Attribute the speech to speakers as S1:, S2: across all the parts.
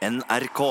S1: NRK.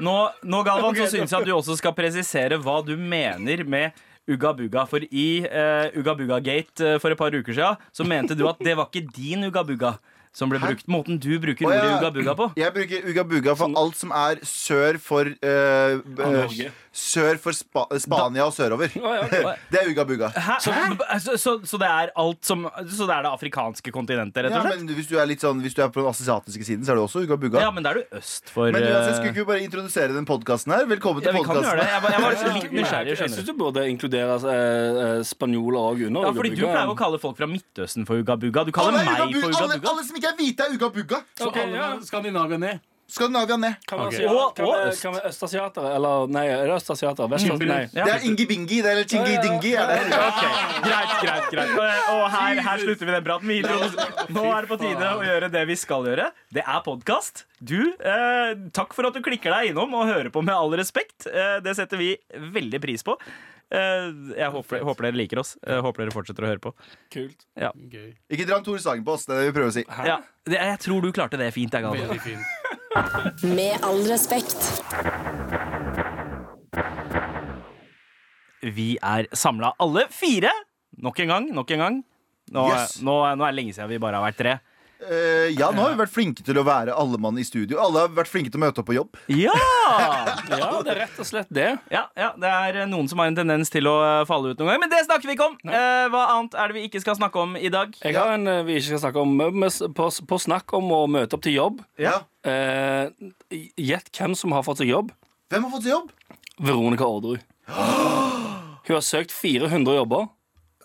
S2: Nå, nå Galvan, så syns jeg at du også skal presisere hva du mener med Ugga Bugga. For i eh, Ugga Bugga Gate eh, for et par uker siden så mente du at det var ikke din Ugga Bugga som ble brukt. Måten du bruker
S3: Å, ja.
S2: ordet Ugga Bugga på.
S3: Jeg bruker Uga Buga for alt som er sør for eh, b-
S4: Norge.
S3: Sør for Spa Spania og sørover. Det er Uga Buga.
S2: Hæ? Så, altså, så, så det er alt som Så det er det afrikanske kontinentet, rett
S3: Ja,
S2: og slett?
S3: men hvis du, er litt sånn, hvis du er på den asiatiske siden, så er det også Uga Buga.
S2: Ja, men da er du øst for
S3: Men uansett,
S2: eh,
S3: skulle ikke vi bare introdusere den podkasten her? Velkommen
S2: Ja,
S3: til
S2: vi kan gjøre det.
S3: podkasten.
S2: Jeg var, jeg var
S4: Jeg
S2: litt nysgjerrig.
S4: jeg
S2: skjønner
S4: syns
S2: du.
S4: du burde inkludere eh, eh, spanjoler òg under.
S2: Ja, fordi Du
S4: Ugabugaen.
S2: pleier å kalle folk fra Midtøsten for Ugga Bugga. Du kaller
S3: Alle, er
S2: meg
S3: Uga
S2: for
S3: Buga.
S2: Ugga
S3: alle,
S2: Bugga.
S3: alle som ikke er hvite, er Uga Buga.
S5: Så
S4: Ok,
S5: alle
S4: ja.
S5: Skandinavia ned.
S3: Skandinavia ned.
S4: Kan vi
S5: Ok.
S4: asiat-
S2: Og-
S4: kan
S2: og
S4: vi-
S2: øst.
S4: Kan vi østasiatere? Eller nei, er det østasiater? Vestasiater? Nei.
S2: Ja.
S3: Det er Ingi Bingi. Det er Chingi Dingi. Er det.
S2: Ok, Greit, greit, greit. Og- Og her, her slutter vi den praten. Vi introduserer- Nå er det på tide å gjøre det vi skal gjøre. Det er podkast. Du, eh, takk for at du klikker deg innom og hører på med all respekt. Eh, det setter vi veldig pris på. Eh, jeg håper, håper dere liker oss. Jeg håper dere fortsetter å høre på.
S4: Kult.
S5: Gøy.
S3: Ikke dra en Tore Sagen på oss. Det er det vi prøver å si.
S2: Ja, det, jeg tror du klarte det fint. Jeg, Galvan.
S5: Veldig fint.
S6: Med all respekt.
S2: Vi er samla alle fire. Nok en gang, nok en gang. Nå,
S3: Yes.
S2: nå, nå er det lenge siden vi bare har vært tre.
S3: Eh, ja, nå har vi vært flinke til å være alle mann i studio. Alle har vært flinke til å møte opp på jobb.
S2: Ja!
S4: Ja, det er rett og slett det.
S2: Ja, ja, det er noen som har en tendens til å eh, falle ut noen ganger, men det snakker vi ikke om. Eh, hva annet er det vi ikke skal snakke om i dag?
S4: Jeg har en eh, vi ikke skal snakke om. men vi- På, på snakk om å møte opp til jobb.
S3: Ja.
S4: Eh, Gjett hvem som har fått seg jobb.
S3: Hvem har fått seg jobb?
S4: Veronica Orderud. Hun har søkt 400 jobber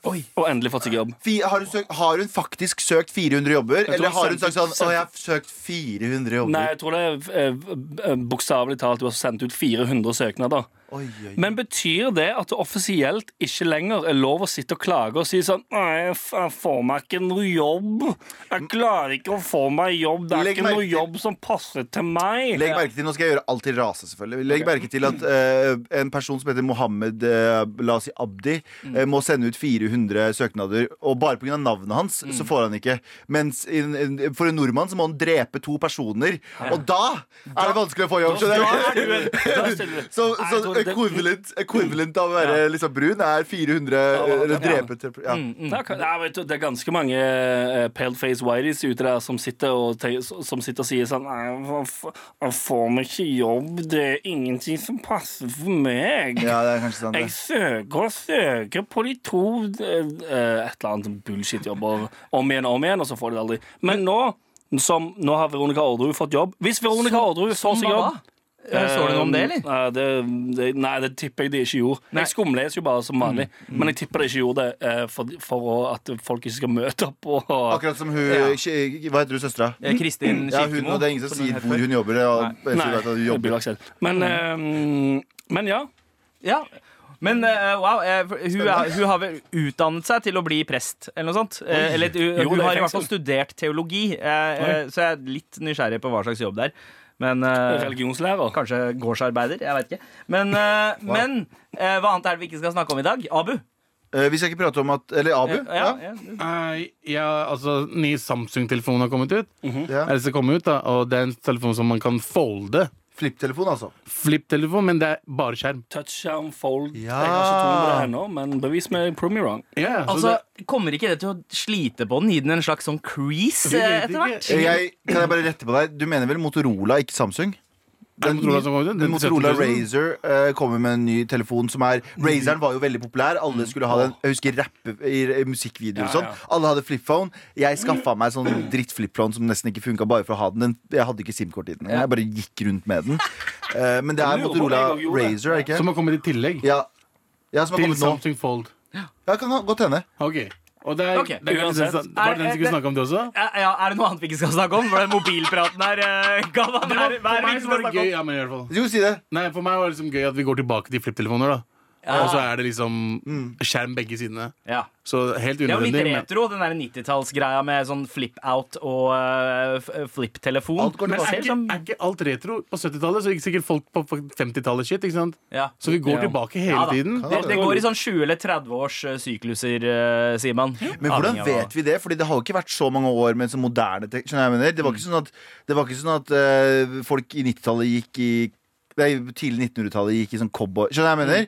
S4: og endelig fått seg jobb.
S3: Fi- har, hun søkt, har hun faktisk søkt 400 jobber?
S4: tror
S3: Eller
S4: hun
S3: har hun
S4: sendte-
S3: sagt sånn Å,
S4: sendte-
S3: jeg har søkt 400 jobber.
S4: Nei, jeg tror det er eh, eh, bokstavelig talt hun har sendt ut 400 søknader.
S3: Oi, oi.
S4: Men betyr det at det offisielt ikke lenger er lov å sitte og klage og si sånn Nei, f- jeg får meg ikke noe jobb. Jeg klarer ikke å få meg jobb. Det er
S3: Legg
S4: ikke
S3: merke
S4: noe
S3: til-
S4: jobb som passer til meg.
S3: Legg merke til, Nå skal jeg gjøre alt til rase, selvfølgelig. Legg merke til at eh, en person som heter Mohammed eh, la oss si Abdi,
S4: Mm.
S3: eh, må sende ut 400 søknader. Og bare pga. navnet hans
S4: Mm.
S3: så får han ikke. Mens in, in, for en nordmann så må han drepe to personer. Og da er det vanskelig å få jobb. skjønner
S4: Da
S3: du?
S4: er du en- da stiller du-
S3: Så,
S4: Nei,
S3: så
S4: jeg tror det-
S3: equivalent, equivalent av å være liksom brun er 400 Eller drepe til- ja.
S4: Nei, kan- Nei, vet du, det er ganske mange eh, pale face whiteys ute der som sitter og, te- som sitter og sier sånn Nei, hva f- jeg får meg ikke jobb. Det er ingenting som passer for meg.
S3: ja, det er kanskje sant.
S4: Jeg
S3: Det.
S4: søker og søker på de to eh, eh, Et eller annet sånn bullshit-jobber om igjen og om igjen, og så får de det aldri. Men nå, som, nå har Veronica Orderud fått jobb. Hvis Veronica Orderud
S2: sånn
S4: får seg jobb
S2: Eh, Så du noe om det, eller?
S4: Eh, det, det, nei, det tipper jeg de ikke gjorde. Jeg skumleser jo bare som vanlig, men jeg tipper de ikke gjorde det eh, for, for å, at folk ikke skal møte opp. Og,
S3: Akkurat som hun Hva heter du, søstera?
S2: Eh, Kristin
S3: Ja, hun,
S2: Kirkemo.
S3: og det er ingen som
S2: som hun
S3: sier
S2: het
S3: hvor
S2: før.
S3: hun jobber. Og, jeg
S4: nei,
S3: tror at hun
S4: det
S3: jobber.
S4: blir aktuelt. Men, eh, men ja.
S2: Ja. Men eh, wow, eh, for hun, er, hun har vel utdannet seg til å bli prest, eller noe sånt? Eh, eller hun,
S4: Jo, det
S2: hun
S4: er
S2: har i hvert fall
S4: fengsel.
S2: studert teologi, eh, eh, så jeg er litt nysgjerrig på hva slags jobb det er. Men eh,
S4: Religionslærer.
S2: kanskje gårdsarbeider? Jeg veit ikke. Men, eh, men eh, hva annet er det vi ikke skal snakke om i dag? Abu?
S3: Eh, vi skal ikke prate om at Eller Abu?
S2: Ja, ja.
S5: Nei, ja, altså, ny Samsung-telefon har kommet ut.
S2: Mhm.
S3: Ja.
S5: Eller skal komme ut, da. Og det er en telefon som man kan folde.
S3: Flipptelefon, altså.
S5: Flipp-telefon, men det er bare skjerm.
S4: Touchdown, fold
S3: Ja.
S4: Jeg har ikke troen på det ennå, men bevis meg prove me wrong.
S5: Ja, ja, så
S2: Altså, Kommer ikke det til å slite på den? Gi den en slags sånn crease
S5: Vi
S2: eh,
S5: vet
S2: etter
S5: ikke.
S2: hvert?
S3: Eh, Jeg, kan jeg bare rette på deg? Du mener vel Motorola, ikke Samsung?
S5: det, er det Motorola som kommer ut?
S3: Den
S5: Den
S3: Motorola
S5: 70 000?
S3: Razor kommer med en ny telefon som er Razeren var jo veldig populær.
S5: Mm.
S3: Alle skulle ha den. Jeg husker rappe i i musikkvideoer og
S4: Ja,
S3: sånn. Alle hadde flipphone. Jeg skaffa meg sånn drittflipphone som nesten ikke funka, bare for å ha den. den. Jeg hadde ikke SIM-kort i den. Jeg bare gikk rundt med den. Eh, Men det er
S4: Jeg lurer på om
S3: Motorola
S4: jeg gjorde det.
S3: Razor, er det ikke?
S5: Som har kommet i tillegg
S3: Ja. ja, som har
S5: til
S3: kommet nå.
S5: Samsung Fold.
S3: Ja, kan godt hende.
S5: Ok. Og det er,
S2: Ok,
S5: det er sånn-
S4: uansett.
S5: Var det den som skulle
S2: Er- er-
S5: snakke om det også?
S2: Ja, ja, er det noe annet vi ikke skal snakke om? For den mobilpraten her eh, ga meg hva
S5: Det var,
S2: er det
S5: for
S2: vi
S5: meg
S2: ikke
S5: så
S2: skal
S5: var det
S2: snakke
S5: gøy
S2: om?
S5: ja, men i hvert fall.
S3: Jo, si det.
S5: Nei, for meg var det liksom gøy at vi går tilbake til flipptelefoner. da Og så er det liksom
S3: Mm.
S5: skjerm begge sidene.
S2: Ja.
S5: Så helt
S2: Det er jo litt
S5: unødvendig. men-
S2: retro, den der 90-tallsgreia med sånn flip-out og eh, f- flip-telefon.
S3: Alt går
S5: Men
S2: Det
S5: er
S2: ser ut
S5: ikke,
S2: som-
S5: er ikke alt retro på 70-tallet? Så er ikke sikkert folk på 50-tallet shit, ikke sant?
S2: Ja.
S5: Så vi går
S4: Ja.
S5: tilbake hele
S2: Ja da.
S5: tiden.
S2: Det, det går i sånn 20- eller 30 års eh, sykluser, eh, sier man.
S3: Men hvordan vet vi det? Fordi det har jo ikke vært så mange år med en sånn moderne tek- Skjønner jeg hva jeg mener? Det
S2: Mm.
S3: var ikke sånn at, det var ikke sånn at eh, folk i 90-tallet gikk i Nei, tidlig 1900-tallet gikk i sånn cowboy Skjønner jeg hva jeg mener?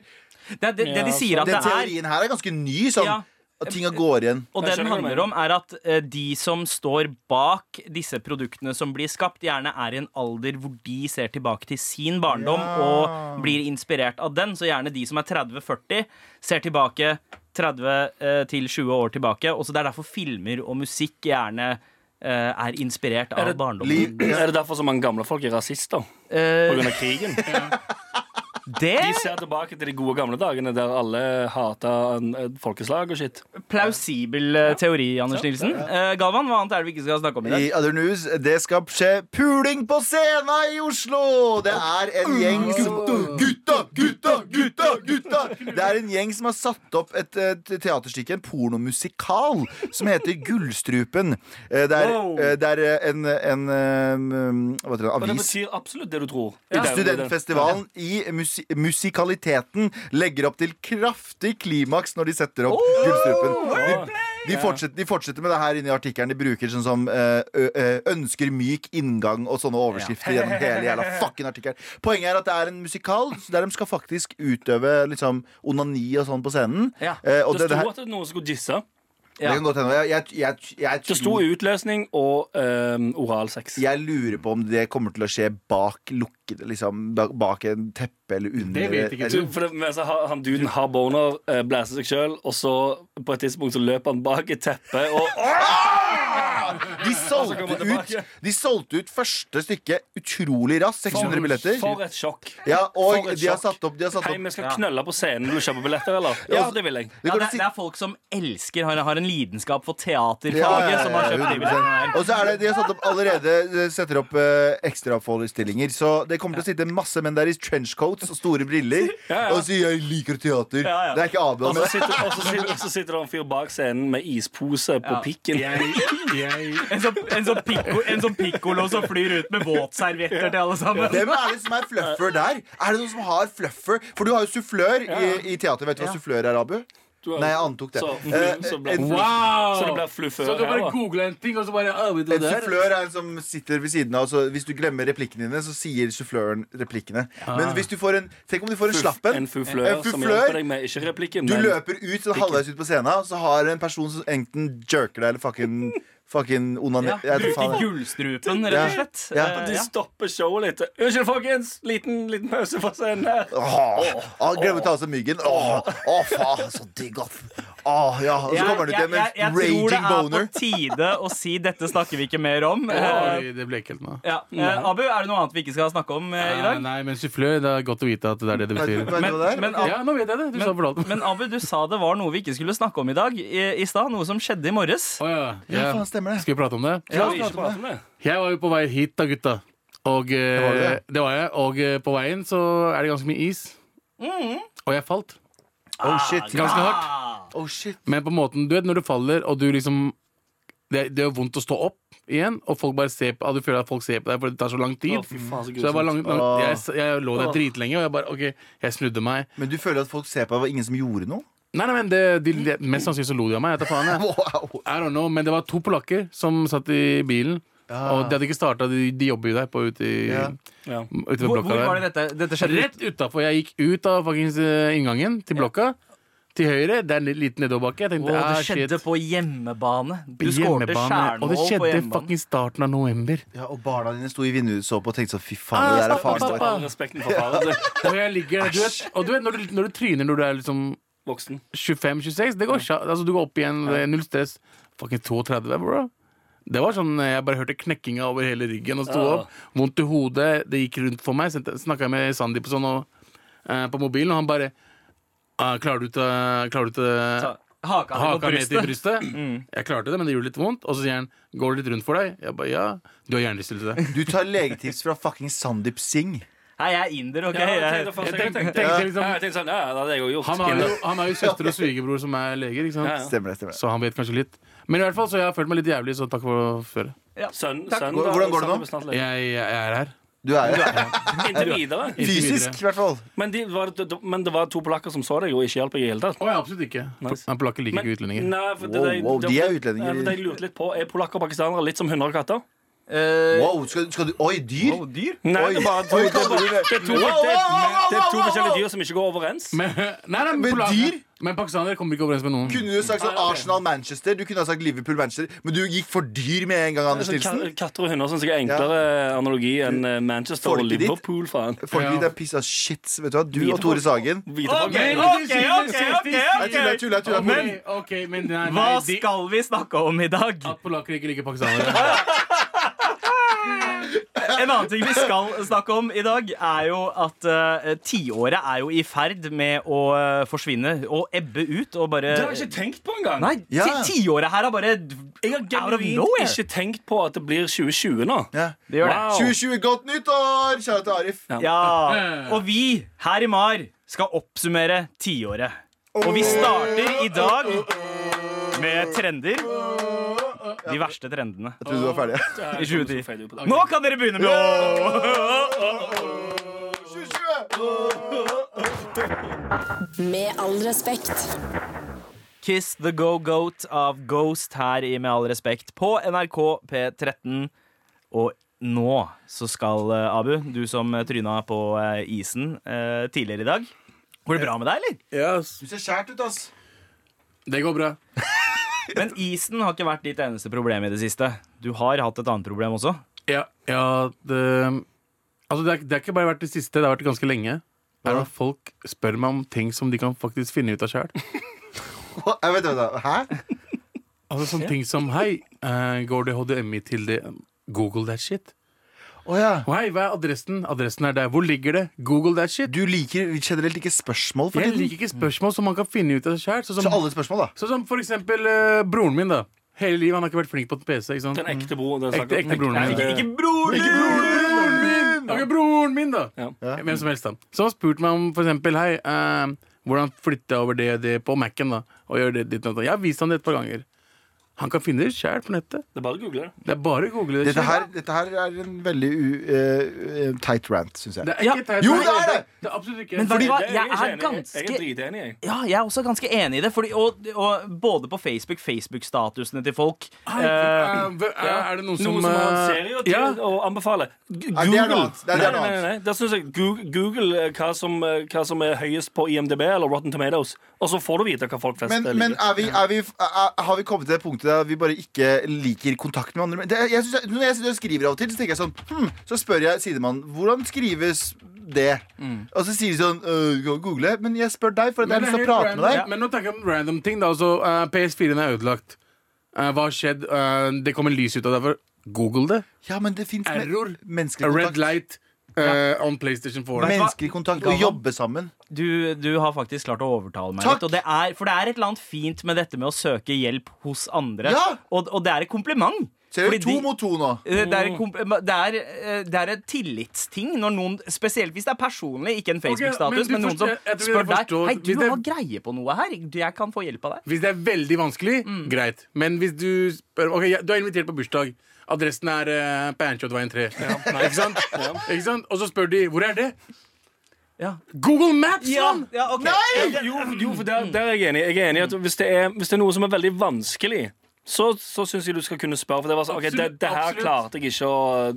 S2: Det, det, det
S4: Ja,
S2: de sier at Mm. det
S3: Den
S2: er,
S3: teorien her er ganske ny. Sånn,
S2: Ja. Mm.
S3: At tinga går igjen.
S2: og det
S4: Jeg
S2: den
S4: skjønner hva du
S2: handler om, er at eh, de som står bak disse produktene som blir skapt, gjerne er i en alder hvor de ser tilbake til sin barndom
S3: Ja.
S2: og blir inspirert av den. Så gjerne de som er 30-40, ser tilbake 30 eh, til 20 år tilbake. Og så det er derfor filmer og musikk gjerne eh, er inspirert av barndommen.
S3: Liv,
S4: Er det derfor så mange gamle folk er rasister? På
S2: Eh,
S4: grunn av krigen?
S2: det
S4: De ser tilbake til de gode gamle dagene der alle hata en- folkeslag og shit.
S2: Plausibel eh, teori, Anders Nilsen. Eh, Galvan, hva annet er det vi ikke skal snakke om i dag?
S3: I Other News, det skal skje puling på scenen i Oslo! Det er en gjeng som Mm, Gutta, gutta, gutta, gutta! Det er en gjeng som har satt opp et, eh, te- teaterstykke, en pornomusikal, som heter Gullstrupen. Eh, Det er,
S2: Wow.
S3: eh, det er eh, en, en eh, Hva heter det?
S4: Men det
S3: Avis.
S4: betyr absolutt det du tror. I
S3: Ja.
S4: den- i den-
S3: Studentfestivalen i musi musikaliteten legger opp til kraftig klimaks når de setter opp Gullstrupen. De, de, fortsetter, de fortsetter med det her inne i artikkelen. De bruker sånn som eh, ø- ø- 'ønsker myk inngang' og sånne overskrifter gjennom hele jævla fucking artikkelen. Poenget er at det er en musikal så der de skal faktisk utøve liksom onani og sånn på scenen.
S2: Ja.
S3: Eh, og det,
S4: Det
S3: det,
S4: sto
S3: her,
S4: at noen skulle disse.
S3: det kan godt hende. Jeg, jeg, jeg, jeg,
S4: Det sto utløsning og um, oralsex.
S3: jeg lurer på om det kommer til å skje bak lukkede liksom, bak- Bak en teppe eller under
S5: Det vet ikke
S3: eller-
S5: du.
S4: For det, men så har, han duden har boner, eh, blæser seg sjøl, og så på et tidspunkt så løper han bak et teppe og
S3: De solgte,
S4: Altså, kommer
S3: ut,
S4: tilbake.
S3: de solgte ut første stykke utrolig raskt. 600 billetter.
S4: For et sjokk.
S3: Ja, og
S4: for et
S3: de har
S4: sjokk.
S3: satt opp, de har satt
S4: Hei,
S3: opp.
S4: vi skal knølle på scenen og kjøpe billetter, eller? Ja, det vil jeg.
S3: Det
S2: Ja,
S3: går
S2: det, er,
S3: til si-
S2: det er folk som elsker, har, har en lidenskap for teaterfaget,
S3: Ja, ja, ja,
S2: som har kjøpt de billettene her.
S3: 100%. Og så er det, de har satt opp allerede eh, setter opp eh, ekstraforestillinger. Så det kommer til å sitte masse menn der i trenchcoats og store briller
S4: Ja, Altså- ja.
S3: og si 'jeg liker teater'.
S2: Ja, ja.
S3: Det er ikke
S4: Og
S3: Adrian.
S4: så
S3: men-
S4: sitter, og så sitter, og så sitter det en fyr bak scenen med ispose på
S2: Ja.
S4: pikken.
S2: En sånn, en sånn, pikko, en sånn pikkolo som flyr ut med våtservietter til alle sammen.
S3: Hvem er det som er fluffer der? Er det noen som har fluffer? For du har jo sufflør i, i teater. Vet du hva sufflør er, Abu?
S4: Du har-
S3: Nei, jeg antok det.
S4: Så, mm,
S3: Eh,
S4: så, ble,
S3: en-
S5: Wow!
S4: så det blir fluffør
S5: Så du
S4: her,
S5: bare
S4: da.
S5: googler en ting, og så bare «Å, vet du
S3: En
S5: det der?»
S3: sufflør er en som sitter ved siden av. Så hvis du glemmer replikkene dine, så sier suffløren replikkene. Men hvis du får en Tenk om du får en slapp en.
S4: En fufflør
S3: En
S4: som
S3: fufflør.
S4: hjelper deg med ikke replikken,
S3: Du
S4: men
S3: løper ut sånn halvveis ut på scenen, og så har en person som enten jerker deg eller fucking, fucking
S2: Ja,
S3: onaner Jeg
S2: Bruke
S3: vet faen.
S2: gullstrupen, rett og
S3: Ja.
S2: slett.
S3: Ja.
S2: Eh,
S4: de
S2: ja.
S4: stopper showet litt. Unnskyld, folkens! Liten, liten pause fra scenen her.
S3: Åh, åh, Glemmer å ta av seg myggen. Åh, åh, faen, så digg, ass. Åh, ja. Og så
S2: Jeg-
S3: kommer du til
S2: jeg-
S3: med
S2: jeg- jeg
S3: en
S2: tror det
S3: raging
S2: er
S3: boner.
S2: på tide å si 'dette snakker vi ikke mer om'. Eh,
S5: Oi, Det ble ikke helt med.
S2: ja. Eh, Abu, er det noe annet vi ikke skal snakke om eh, i
S5: Nei,
S2: dag?
S5: nei, men sufflør, det er godt å vite at det er det det
S3: Vet vet du
S5: betyr.
S3: hva det er?
S2: Men, Abu,
S5: Ja, nå vet jeg det. Du sa fortalt meg.
S2: men Abu, du sa det var noe vi ikke skulle snakke om i dag i, i stad. Noe som skjedde i morges.
S5: Å, ja.
S3: Ja,
S5: Ja.
S3: faen, stemmer det.
S5: Skal vi prate om det?
S4: Skal vi ikke prate om det?
S5: Jeg var jo på vei hit da, gutta. Og eh,
S3: Det var du, ja.
S5: det var jeg. Og eh, på veien så er det ganske mye is.
S2: Mm.
S5: Og jeg falt.
S3: Oh shit.
S5: Ganske hardt.
S3: Oh shit.
S5: Men på måten, du vet når du faller, og du liksom Det, det gjør vondt å stå opp igjen, og folk bare ser på, og du føler at folk ser på deg, for det tar så lang tid.
S4: Å, fy faen, så
S5: så jeg, bare lang, lang,
S3: Åh.
S5: jeg, jeg lå der dritlenge, og jeg bare OK, jeg snudde meg.
S3: Men du føler at folk ser på deg, og ingen som gjorde noe?
S5: Nei, nei, men det, de, de, Mest sannsynlig så lo de av meg. Jeg vet da faen, jeg.
S3: Wow.
S5: I don't know, men det var to polakker som satt i bilen.
S2: Ah.
S5: Og de hadde ikke starta, de, de jobber jo der på ute i
S3: Ja.
S4: Ja.
S5: ute ved
S2: Hvor,
S5: blokka
S2: hvor var
S5: der.
S2: det dette, dette skjedde?
S5: Rett utafor. Jeg gikk ut av fuckings eh, inngangen til blokka. Til høyre. Det er en li- liten nedoverbakke. Jeg
S2: Å,
S5: tenkte ah,
S2: det
S5: shit.
S2: skjedde på hjemmebane. Du skårte
S5: Hjemmebane. Og det
S2: stjernemål på
S5: skjedde
S2: hjemmebane.
S5: fucking starten av november.
S3: Ja, og barna dine sto i vinduet og så på og tenkte sånn Fy faen,
S5: Ah,
S3: det der er
S5: snakk om
S3: faren vår.
S5: pappa.
S4: All respekten for faren sin.
S5: Og jeg ligger der, du vet, og du vet når, du, når du tryner når du er liksom
S4: Voksen.
S5: 25-26, det går ikke. Altså, du går opp igjen, det er null stress. Fucking 32, bro. Det var sånn, eh, Jeg bare hørte knekkinga over hele ryggen og sto
S4: Ja.
S5: opp. Vondt i hodet. Det gikk rundt for meg. Snakka med Sandy på, sånn, og, eh, på mobilen, og han bare «Ah, Klarer du til, klarer du til
S2: Ta- Haka,
S5: Haka
S2: på
S5: ned til
S2: brystet.
S5: brystet. Mm. Jeg klarte det, men det gjorde litt vondt. Og så sier han Går det litt rundt for deg? Jeg bare ja. Du har hjernerystelse.
S3: Du tar legetips fra fucking Sandeep Singh.
S2: Hei, jeg er inder, OK?
S4: Ja, jeg tenkte
S2: Jeg,
S4: først, jeg
S5: Altså, Jeg tenkte,
S4: tenkte-
S5: tenkte
S4: Ja, jeg
S5: liksom
S4: tenkte sånn, ja, ja, det hadde jeg jo gjort.
S5: han har, jo, han har jo søster og svigerbror som er leger, ikke sant?
S4: Ja, ja.
S3: Stemmer det. stemmer det
S5: Så han vet kanskje litt. Men i hvert fall, så jeg har følt meg litt jævlig, så takk for føret.
S4: Sønn-
S2: Takk.
S4: sønn,
S3: Hvordan-
S4: da,
S3: hvordan går det nå?
S4: sønn er snart lege.
S5: Jeg, jeg er her.
S3: Du er her.
S4: Inntil videre.
S5: Inntil videre.
S3: Fysisk, i hvert fall.
S4: Men, de var, men det var to polakker som så deg og ikke hjalp deg i hele tatt.
S5: Å, ja, absolutt ikke.
S4: Nice.
S5: Men Polakker liker ikke utlendinger.
S4: Nei, for det,
S3: Wow,
S4: det-
S3: wow,
S4: det-
S3: de er utlendinger.
S4: Ja, men det jeg lurte litt på, Er polakker og pakistanere litt som hunder og katter?
S3: Wow, skal, skal du Oi, dyr!
S2: Wow, Eh, dyr?
S4: Nei,
S3: Oi.
S4: det er bare to,
S3: Oi,
S4: det er bare-
S3: katter.
S4: det er to,
S3: Wow,
S4: det er-
S3: wow,
S4: det er to
S3: wow, wow,
S4: forskjellige
S3: wow.
S4: dyr som ikke går overens.
S5: Men, nei, nei,
S3: Men
S5: pola-
S3: dyr?
S5: Men pakistanere kommer ikke overens med noen.
S3: Kunne du sagt sånn Arsenal-Manchester? Du kunne ha sagt Liverpool-Manchester, men du gikk for dyr med en gang, Anders
S4: Sånn
S3: Nilsen.
S4: ka- Katter og hunder syns jeg er enklere analogi enn eh, Manchester og
S3: Folket ditt?
S4: Liverpool, faen.
S3: Folk
S5: Ja.
S3: gir deg piss av shit. Vet du hva? Du og Tore Sagen.
S4: Videre-
S2: Ok, ok, ok, ok,
S3: Jeg tuller, jeg
S2: ok
S3: tuller. jeg tuller.
S5: Men, ok, men nei,
S2: Hva
S5: nei, de,
S2: skal vi snakke om i dag?
S5: At polakker ikke liker pakistanere.
S2: En annen ting vi skal snakke om i dag, er jo at eh, tiåret er jo i ferd med å eh, forsvinne og ebbe ut og bare
S4: Det har jeg ikke tenkt på engang.
S2: Nei, ti-
S3: Ja.
S2: tiåret her er bare
S4: Jeg har
S2: out of
S4: genuint
S2: nowhere.
S4: ikke tenkt på at det blir 2020 nå.
S3: Ja.
S2: Det gjør det.
S4: Wow.
S3: 2020, godt nyttår! Kjære til Arif.
S2: Ja. Og vi her i MAR skal oppsummere tiåret. Og vi starter i dag med trender. De verste trendene
S3: Jeg trodde du var ferdig.
S2: i 2010.
S4: Feil ut på det.
S2: Nå kan dere begynne med å
S3: 2020!
S6: Med all respekt.
S2: Kiss the Go-Goat av Ghost her i Med all respekt på NRK P13. Og nå så skal eh, Abu, du som eh, tryna på eh, isen eh, tidligere i dag Går det bra med deg, eller?
S5: Yes.
S3: Du ser skjært ut, ass.
S5: Det går bra.
S2: Men isen har ikke vært ditt eneste problem i det siste. Du har hatt et annet problem også.
S5: Ja, ja det, altså det, er, det er ikke bare vært det siste, det har vært ganske lenge. Det er at folk spør meg om ting som de kan faktisk finne ut av sjøl.
S3: Hva? Jeg vet, vet, Hæ?
S5: Altså sånne ting som Hei, eh, går det HDMI til det? Google that shit.
S3: Å ja.
S5: Og hei, hva er adressen? Adressen er der. Hvor ligger det? Google that shit.
S3: Du liker generelt ikke spørsmål for
S5: Jeg
S3: tiden?
S5: liker ikke spørsmål som man kan finne ut av sjøl. Sånn
S3: Så
S5: som,
S3: alle spørsmål, da.
S5: sånn som for eksempel eh, broren min, da. Hele livet han har ikke vært flink på PC. ikke sant?
S4: Den ekte bror. Den
S5: Ekte- ekte broren
S2: eh.
S5: min.
S4: Ikke, ikke,
S2: broren din!
S5: broren min! Ok, broren min da
S4: Ja.
S5: Hvem som helst da Så han spurte meg om for eksempel Hei, eh, hvordan flytter jeg over det og det på Mac'en da Og gjør det ditt og datt?» Jeg har vist han det et par ganger Han kan finne det selv på nettet
S4: det er bare å google det.
S5: Det er bare å google det
S3: Dette
S5: selv.
S3: her, dette her er en veldig u, eh, eh, tight rant, syns jeg.
S5: Det er
S2: Ja.
S5: ikke teit-
S3: Jo, det er det!
S5: Det er absolutt ikke
S2: Men vet du hva,
S4: Det
S2: jeg er
S4: ikke enig i. Jeg er
S2: ganske
S4: dritenig, jeg.
S2: ja, jeg er også ganske enig i det. Fordi, og, og både på Facebook, Facebook-statusene til folk
S5: Hei,
S2: eh,
S5: eh, hv- er, er det noen som
S4: Noe som han
S5: eh,
S4: ser jo til
S5: ja,
S4: å anbefale. G-
S3: Nei, det er noe annet. Det er- det
S4: Nei,
S3: er
S4: nei,
S3: noe
S4: nei, nei. Da synes jeg Google, Google eh, hva, som, eh, hva som er høyest på IMDb eller Rotten Tomatoes, og så får du vite hva folk flest
S3: Men,
S4: liker.
S3: men er vi, er vi, er, har vi kommet til det punktet der vi bare ikke liker kontakt med andre? men Det, jeg synes, når jeg sitter og skriver av og til, så tenker jeg sånn hm, Så spør jeg sidemannen hvordan skrives det? Og så sier de sånn øh, gå og Google. Men jeg spør deg, for jeg har lyst til å
S5: helt
S3: prate med deg.
S5: random- Men nå tenker jeg om random ting da Altså, eh, PS4-en er ødelagt Eh, Hva har skjedd? Eh, det kommer lys ut av derfor Google det
S3: Ja, men det fins
S5: Error.
S3: menneskelig
S5: Red
S3: kontakt.
S5: light eh, on PlayStation 4.
S3: Menneskelig kontakt og jobbe sammen.
S2: du, du har faktisk klart å overtale meg
S3: Takk.
S2: litt. Og det er, for det er et eller annet fint med dette med å søke hjelp hos andre.
S3: Ja.
S2: Og, og det er et kompliment.
S3: Så er
S2: Fordi
S3: det to
S2: de-
S3: mot to nå.
S2: Eh, Det er, en komp- eh, det, er, eh, det er en tillitsting når noen Spesielt hvis det er personlig, ikke en Facebook-status,
S5: men du
S2: men, noen som
S5: forstår- jeg- jeg tror
S2: spør
S5: dere
S2: deg
S5: forstår.
S2: Hei, du
S5: Hvis det-
S2: har greie på noe her. Du- Jeg kan få hjelp av deg.
S5: Hvis det er veldig vanskelig,
S4: Mm.
S5: greit. Men hvis du spør Ok, ja, du er invitert på bursdag. Adressen er uh, Pankjotveien 3. Ikke sant? Ikke sant? Og så spør de hvor er det?
S2: Ja,
S5: Google Maps!
S2: ja,
S5: mann!
S2: ja ok.
S4: Jo,
S5: altså,
S4: jo, for der, der er jeg enig. Jeg er enig i at hvis det er, hvis det er noe som er veldig vanskelig så, så syns jeg du skal kunne spørre. For det var sånn, ok, det,
S5: Absolutt,
S4: det her
S5: absolutt.
S4: klarte jeg ikke å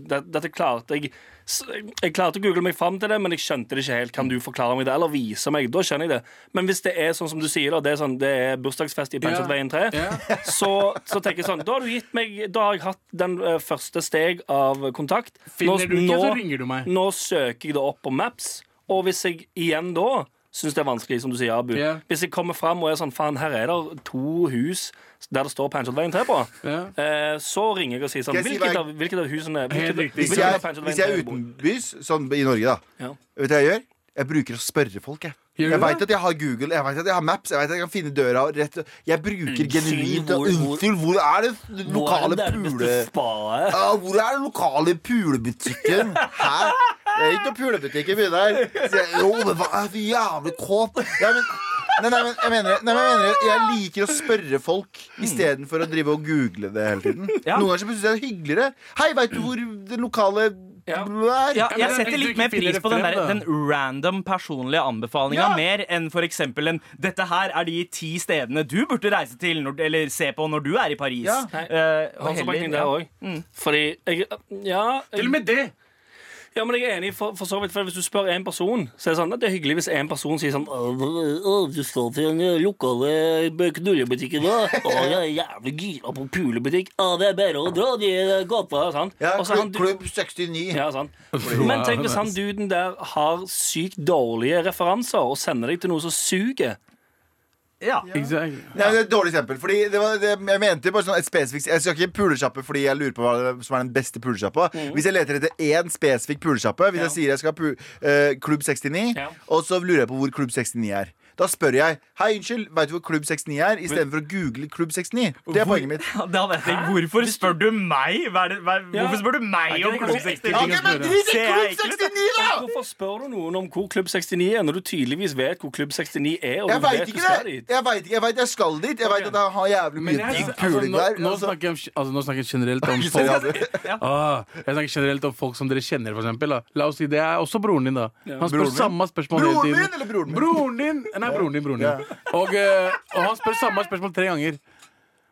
S4: det, Dette klarte jeg s- Jeg klarte å google meg fram til det, men jeg skjønte det ikke helt. Kan du forklare meg det, eller vise meg? Da skjønner jeg det. Men hvis det er sånn som du sier, da, det er, sånn, det er bursdagsfest i Pensjonsveien 3,
S5: Ja.
S4: så, så tenker jeg sånn Da har du gitt meg Da har jeg hatt den eh, første steg av kontakt.
S5: Finner du ikke, så ringer du meg.
S4: Nå søker jeg det opp på Maps, og hvis jeg igjen da syns det er vanskelig, som du sier, Abu
S5: Ja.
S4: Hvis jeg kommer fram og er sånn faen, her er det to hus der det står Pansjordveien 3 på,
S5: Ja.
S4: eh, så ringer jeg og sier sånn
S3: Skal jeg si
S4: Hvilket,
S3: hva
S4: av, hvilket av husene
S5: Helt
S4: hvilket,
S5: riktig.
S4: hvilket
S3: Hvis
S4: av
S3: jeg,
S4: Pansjordveien
S3: hvis jeg er
S4: 3 bor-
S3: utenbys, sånn i Norge, da.
S4: Ja.
S3: Vet du hva jeg gjør? Jeg bruker å spørre folk. Jeg,
S5: Gjør du
S3: jeg
S5: det?
S3: veit at jeg har Google, jeg vet at jeg har Maps, jeg vet at jeg kan finne døra rett Jeg bruker
S4: Unnskyld,
S3: genuint
S4: hvor- hvor-
S3: Unnskyld, hvor er det
S4: Hvor er
S3: lokale
S4: det nærmeste
S3: pule...
S4: spaet?
S3: Ja, hvor er den lokale pulebutikken? Hæ? Det er ikke noe pulebutikk i byen her. Så jeg, jo, men hva er for jævlig kåt? Ja, men, nei, nei, men jeg mener, det. nei, men jeg mener det. Jeg liker å spørre folk istedenfor å drive og google det hele tiden.
S2: Ja.
S3: Noen ganger så syns jeg det er hyggeligere. Hei, veit du hvor det lokale
S4: Ja.
S3: er?
S2: Ja,
S5: men
S2: jeg
S5: det er
S2: setter
S5: hvis du
S2: litt
S5: ikke
S2: mer
S5: finner
S2: pris
S5: det
S2: på den,
S5: frem,
S2: der,
S5: da.
S2: den random personlige anbefalinga
S3: Ja.
S2: mer enn f.eks. en 'dette her er de ti stedene du burde reise til når, eller se på når du er i Paris'.
S3: Ja.
S2: Eh, og
S4: Hans
S2: heller-
S4: Bakning
S2: ja.
S4: der òg.
S5: Mm.
S4: Fordi jeg, ja, jeg,
S5: Til og med det!
S4: ja, men jeg er enig for, for så vidt. For hvis du spør en person, så er det sånn at det er hyggelig hvis en person sier sånn «Åh, åh, Du står til den lokale eh, knullebutikken, da. Å, jeg er jævlig gira på pulebutikk. Å, det er bare å dra de gata. Sånn.
S3: Ja,
S4: Og så er han-
S3: kl- klubb 69.
S4: Ja, sant. Men tenk hvis han duden der har sykt dårlige referanser og sender deg til noe som suger.
S2: Ja.
S5: Exactly.
S3: Nei, det er et dårlig eksempel. Fordi det var, det, jeg mente bare sånn et spesifikt Jeg skal ikke pulesjappe fordi jeg lurer på hva som er den beste pulesjappa.
S5: Mm.
S3: Hvis jeg leter etter én spesifikk pulesjappe, hvis jeg sier jeg skal pu, eh, Klubb 69,
S4: Ja.
S3: og så lurer jeg på hvor Klubb 69 er. Da spør jeg Hei, unnskyld, veit du hvor Klubb 69 er? Istedenfor å google Klubb 69. Det er poenget mitt.
S2: Ja, Da vet jeg, hvorfor spør du meg? Hva er det, hva, hvorfor spør du meg
S4: ikke
S2: om
S4: det
S2: Klubb
S4: ganske
S2: 69?
S5: ekkelt? Ja, men
S3: drit i
S2: Ser jeg
S3: Klubb
S2: ekkelt ut?
S3: 69, da!
S4: Hvorfor spør du noen om hvor Klubb 69 er, når du tydeligvis vet hvor Klubb 69 er? Og
S3: Jeg
S4: du vet
S3: veit
S4: du
S3: ikke
S4: skal
S3: det!
S4: dit?
S3: Jeg vet ikke, jeg vet jeg skal dit. Jeg veit at jeg har jævlig
S5: Men
S3: mye
S5: jeg,
S3: digg
S5: altså,
S3: puling
S5: nå,
S3: der.
S5: nå,
S3: altså.
S5: snakker jeg, om- altså, nå snakker jeg generelt om
S3: Ikke
S5: folk
S3: seriøst.
S5: ah, Jeg snakker generelt om folk som dere kjenner, for eksempel. Da. La oss si det er også broren din, da. Han spør
S3: Broren min?
S5: samme spørsmål
S3: Broren
S5: hele
S3: min
S5: tiden.
S3: eller broren min?
S5: Broren din! Nei, broren din. broren din og, eh, og han spør samme spørsmål tre ganger.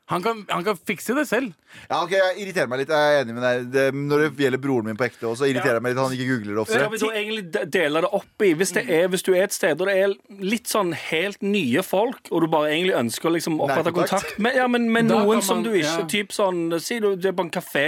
S5: Han kan, han kan fikse det selv.
S3: Ja, ok, Jeg irriterer meg litt. Jeg er enig med deg. Det, når det gjelder broren min på ekte også, irriterer jeg meg litt at han ikke googler det
S4: Skal
S3: oftere.
S4: vi da egentlig de- dele det opp i hvis, det er, hvis du er et sted og det er litt sånn helt nye folk, og du bare egentlig ønsker å liksom opprette
S3: Nærkontakt.
S4: kontakt med, ja, men, med
S5: Da
S4: noen
S5: kan
S4: som
S5: man-
S4: du ikke
S5: ja.
S4: typ sånn, Si du du er på en kafé,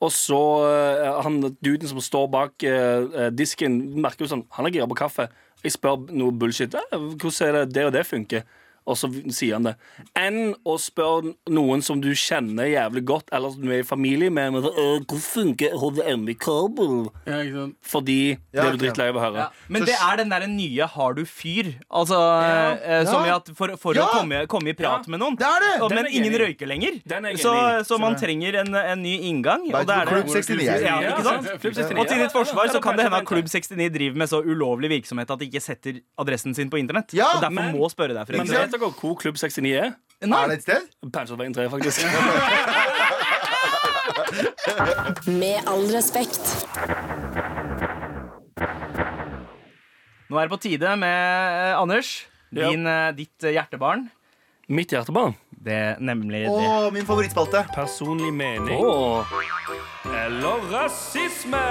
S4: og så eh, han duden som står bak eh, eh, disken, merker jo sånn Han er gira på kaffe. Jeg spør noe bullshit. «Eh, Hvordan er det det og det funker? Og så sier han det. Enn å spørre noen som du kjenner jævlig godt, eller som du er i familie med, men, «Eh, hvordan funker HDMI-kabel?
S5: Ja, ikke sant?
S4: Fordi det
S3: Ja,
S4: er du drittlei av å høre.
S2: Men
S3: Så-
S2: det er den derre nye 'har du fyr'? Altså, eh, som i
S3: Ja.
S2: at for, for
S3: Ja.
S2: å komme, komme i prat med noen.
S3: Det er det.
S2: Og,
S4: Den
S2: men
S4: er jeg
S2: ingen
S4: enig i.
S2: røyker lenger.
S4: Den er jeg
S2: Så,
S4: enig i.
S2: så man trenger en, en ny inngang. Og,
S3: Vet du
S2: det er
S3: hvor
S2: det.
S3: Klubb 69 er?
S2: Ja, ikke sant?
S4: Klubb 69,
S2: og til
S4: ja.
S2: ditt forsvar så kan det hende at Klubb
S4: kanskje
S2: 69 driver med så ulovlig virksomhet at de ikke setter adressen sin på internett.
S3: Ja,
S2: og derfor
S4: men-
S2: må spørre deg.
S4: Men
S2: Fredrik.
S4: vet dere hvor Klubb 69 er?
S2: Nei.
S3: Er det et sted?
S4: Panserveien 3, faktisk.
S6: Med all respekt.
S2: Nå er det på tide med eh, Anders,
S4: Ja.
S2: din, eh, ditt eh, hjertebarn.
S4: Mitt hjertebarn.
S2: Det nemlig
S3: Å,
S2: det.
S3: min favorittspalte.
S4: Personlig mening. Eller rasisme!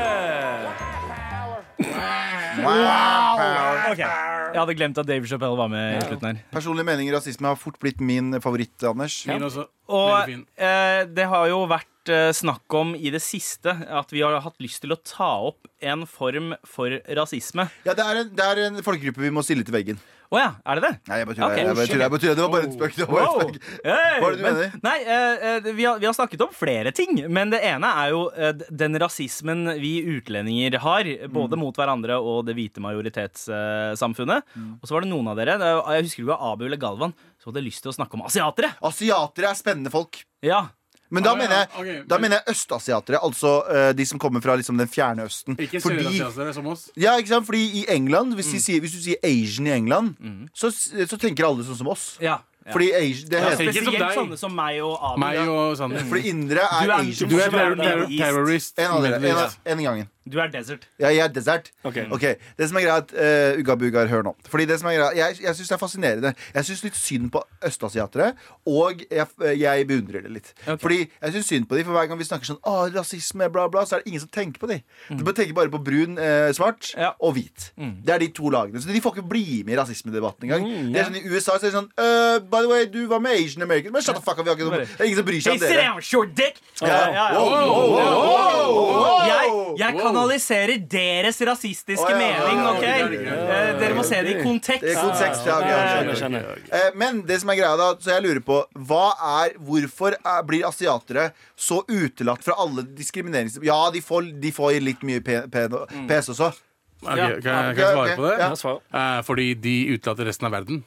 S2: Ok, Jeg hadde glemt at Dave Chappelle var med i slutten her.
S3: Personlige meninger og rasisme har fort blitt min favoritt, Anders.
S5: Min også. Veldig
S2: Og
S5: fin.
S2: eh, det har jo vært eh, snakk om i det siste at vi har hatt lyst til å ta opp en form for rasisme.
S3: Ja, det er en, det er en folkegruppe vi må stille til veggen.
S2: Å ja, er det det?
S3: Nei, jeg bare tuller.
S2: Ok.
S3: jeg bare tuller, jeg bare tuller. Det var bare en spøk. Det var bare en
S2: Wow.
S3: spøk.
S2: Hey,
S3: Hva er det du
S2: men-
S3: mener?
S2: Nei, eh, eh, vi, har, vi har snakket om flere ting, men det ene er jo eh, d- den rasismen vi utlendinger har, både
S5: Mm.
S2: mot hverandre og det hvite majoritetssamfunnet.
S5: Mm.
S2: Og så var det noen av dere, det er jo- jeg husker det var Abu eller Galvan, som hadde lyst til å snakke om asiatere.
S3: Asiatere er spennende folk.
S2: Ja,
S3: Men da
S5: Ah, ja,
S3: mener jeg,
S5: ok,
S3: da
S5: men-
S3: mener jeg østasiatere, altså eh, de som kommer fra liksom, den fjerne østen.
S5: Ikke
S3: Fordi-
S5: sørlandsasiatere som oss.
S3: ja, ikke sant? Fordi i England, hvis, de sier, hvis du sier Asian i England, så, så tenker alle sånn som oss.
S2: ja. ja.
S3: Fordi Asian,
S2: Ja,
S3: det heter,
S5: ikke som
S2: spesielt
S5: deg.
S2: sånne som meg og Abu.
S5: Meg og Sander.
S3: Fordi indre er,
S2: Du er-
S3: Asian.
S5: Du er
S2: Som er
S5: terror- terror-
S2: east.
S5: terrorist.
S3: En av dere. En,
S5: Middle
S3: av,
S5: East.
S3: en i gangen.
S2: Du er desert.
S3: Ja, jeg er desert.
S4: Ok.
S3: Ok, Det som er greit, uh, Ugga Bugar, hør nå. Fordi det som er greit, Jeg, jeg syns det er fascinerende. Jeg syns litt synd på østasiatere, og jeg, eh, jeg beundrer det litt. Fordi jeg syns synd på dem, for hver gang vi snakker sånn Åh, rasisme, bla, bla, så er det ingen som tenker på dem. Du bare tenker bare på brun, eh, svart
S2: Mm. Ja. Mm.
S3: og hvit. Det er de to lagene. Så de får ikke bli med i rasismedebatten engang. Det er sånn I USA så er det sånn «Øh, By the way, du var med Asian American, men shut the fuck up, vi har ikke noe Det er ingen som bryr seg om dere.
S2: short dick!
S3: Ja.
S2: Ja, ja.
S3: Wow, wow, wow, wow.
S2: Jeg, jeg kanaliserer deres rasistiske
S3: Å, ja, ja,
S2: mening,
S3: ja,
S2: OK?
S3: ja,
S5: ja, ja, ja.
S2: Eh, Dere må se det i kontekst.
S3: Det er kontekst, ja, ok, ok, ok.
S4: Jeg skjønner.
S3: Eh, Men det som er greia da, så jeg lurer på hva er, Hvorfor er, blir asiatere så utelatt fra alle diskriminerings... Ja, de får, de får litt mye pe- pe- pes også.
S5: Ok, kan, jeg- kan
S3: Ja,
S5: jeg svare
S3: ok,
S5: på det?
S3: ja.
S4: Ja, svar.
S5: Eh, fordi de utelater resten av verden.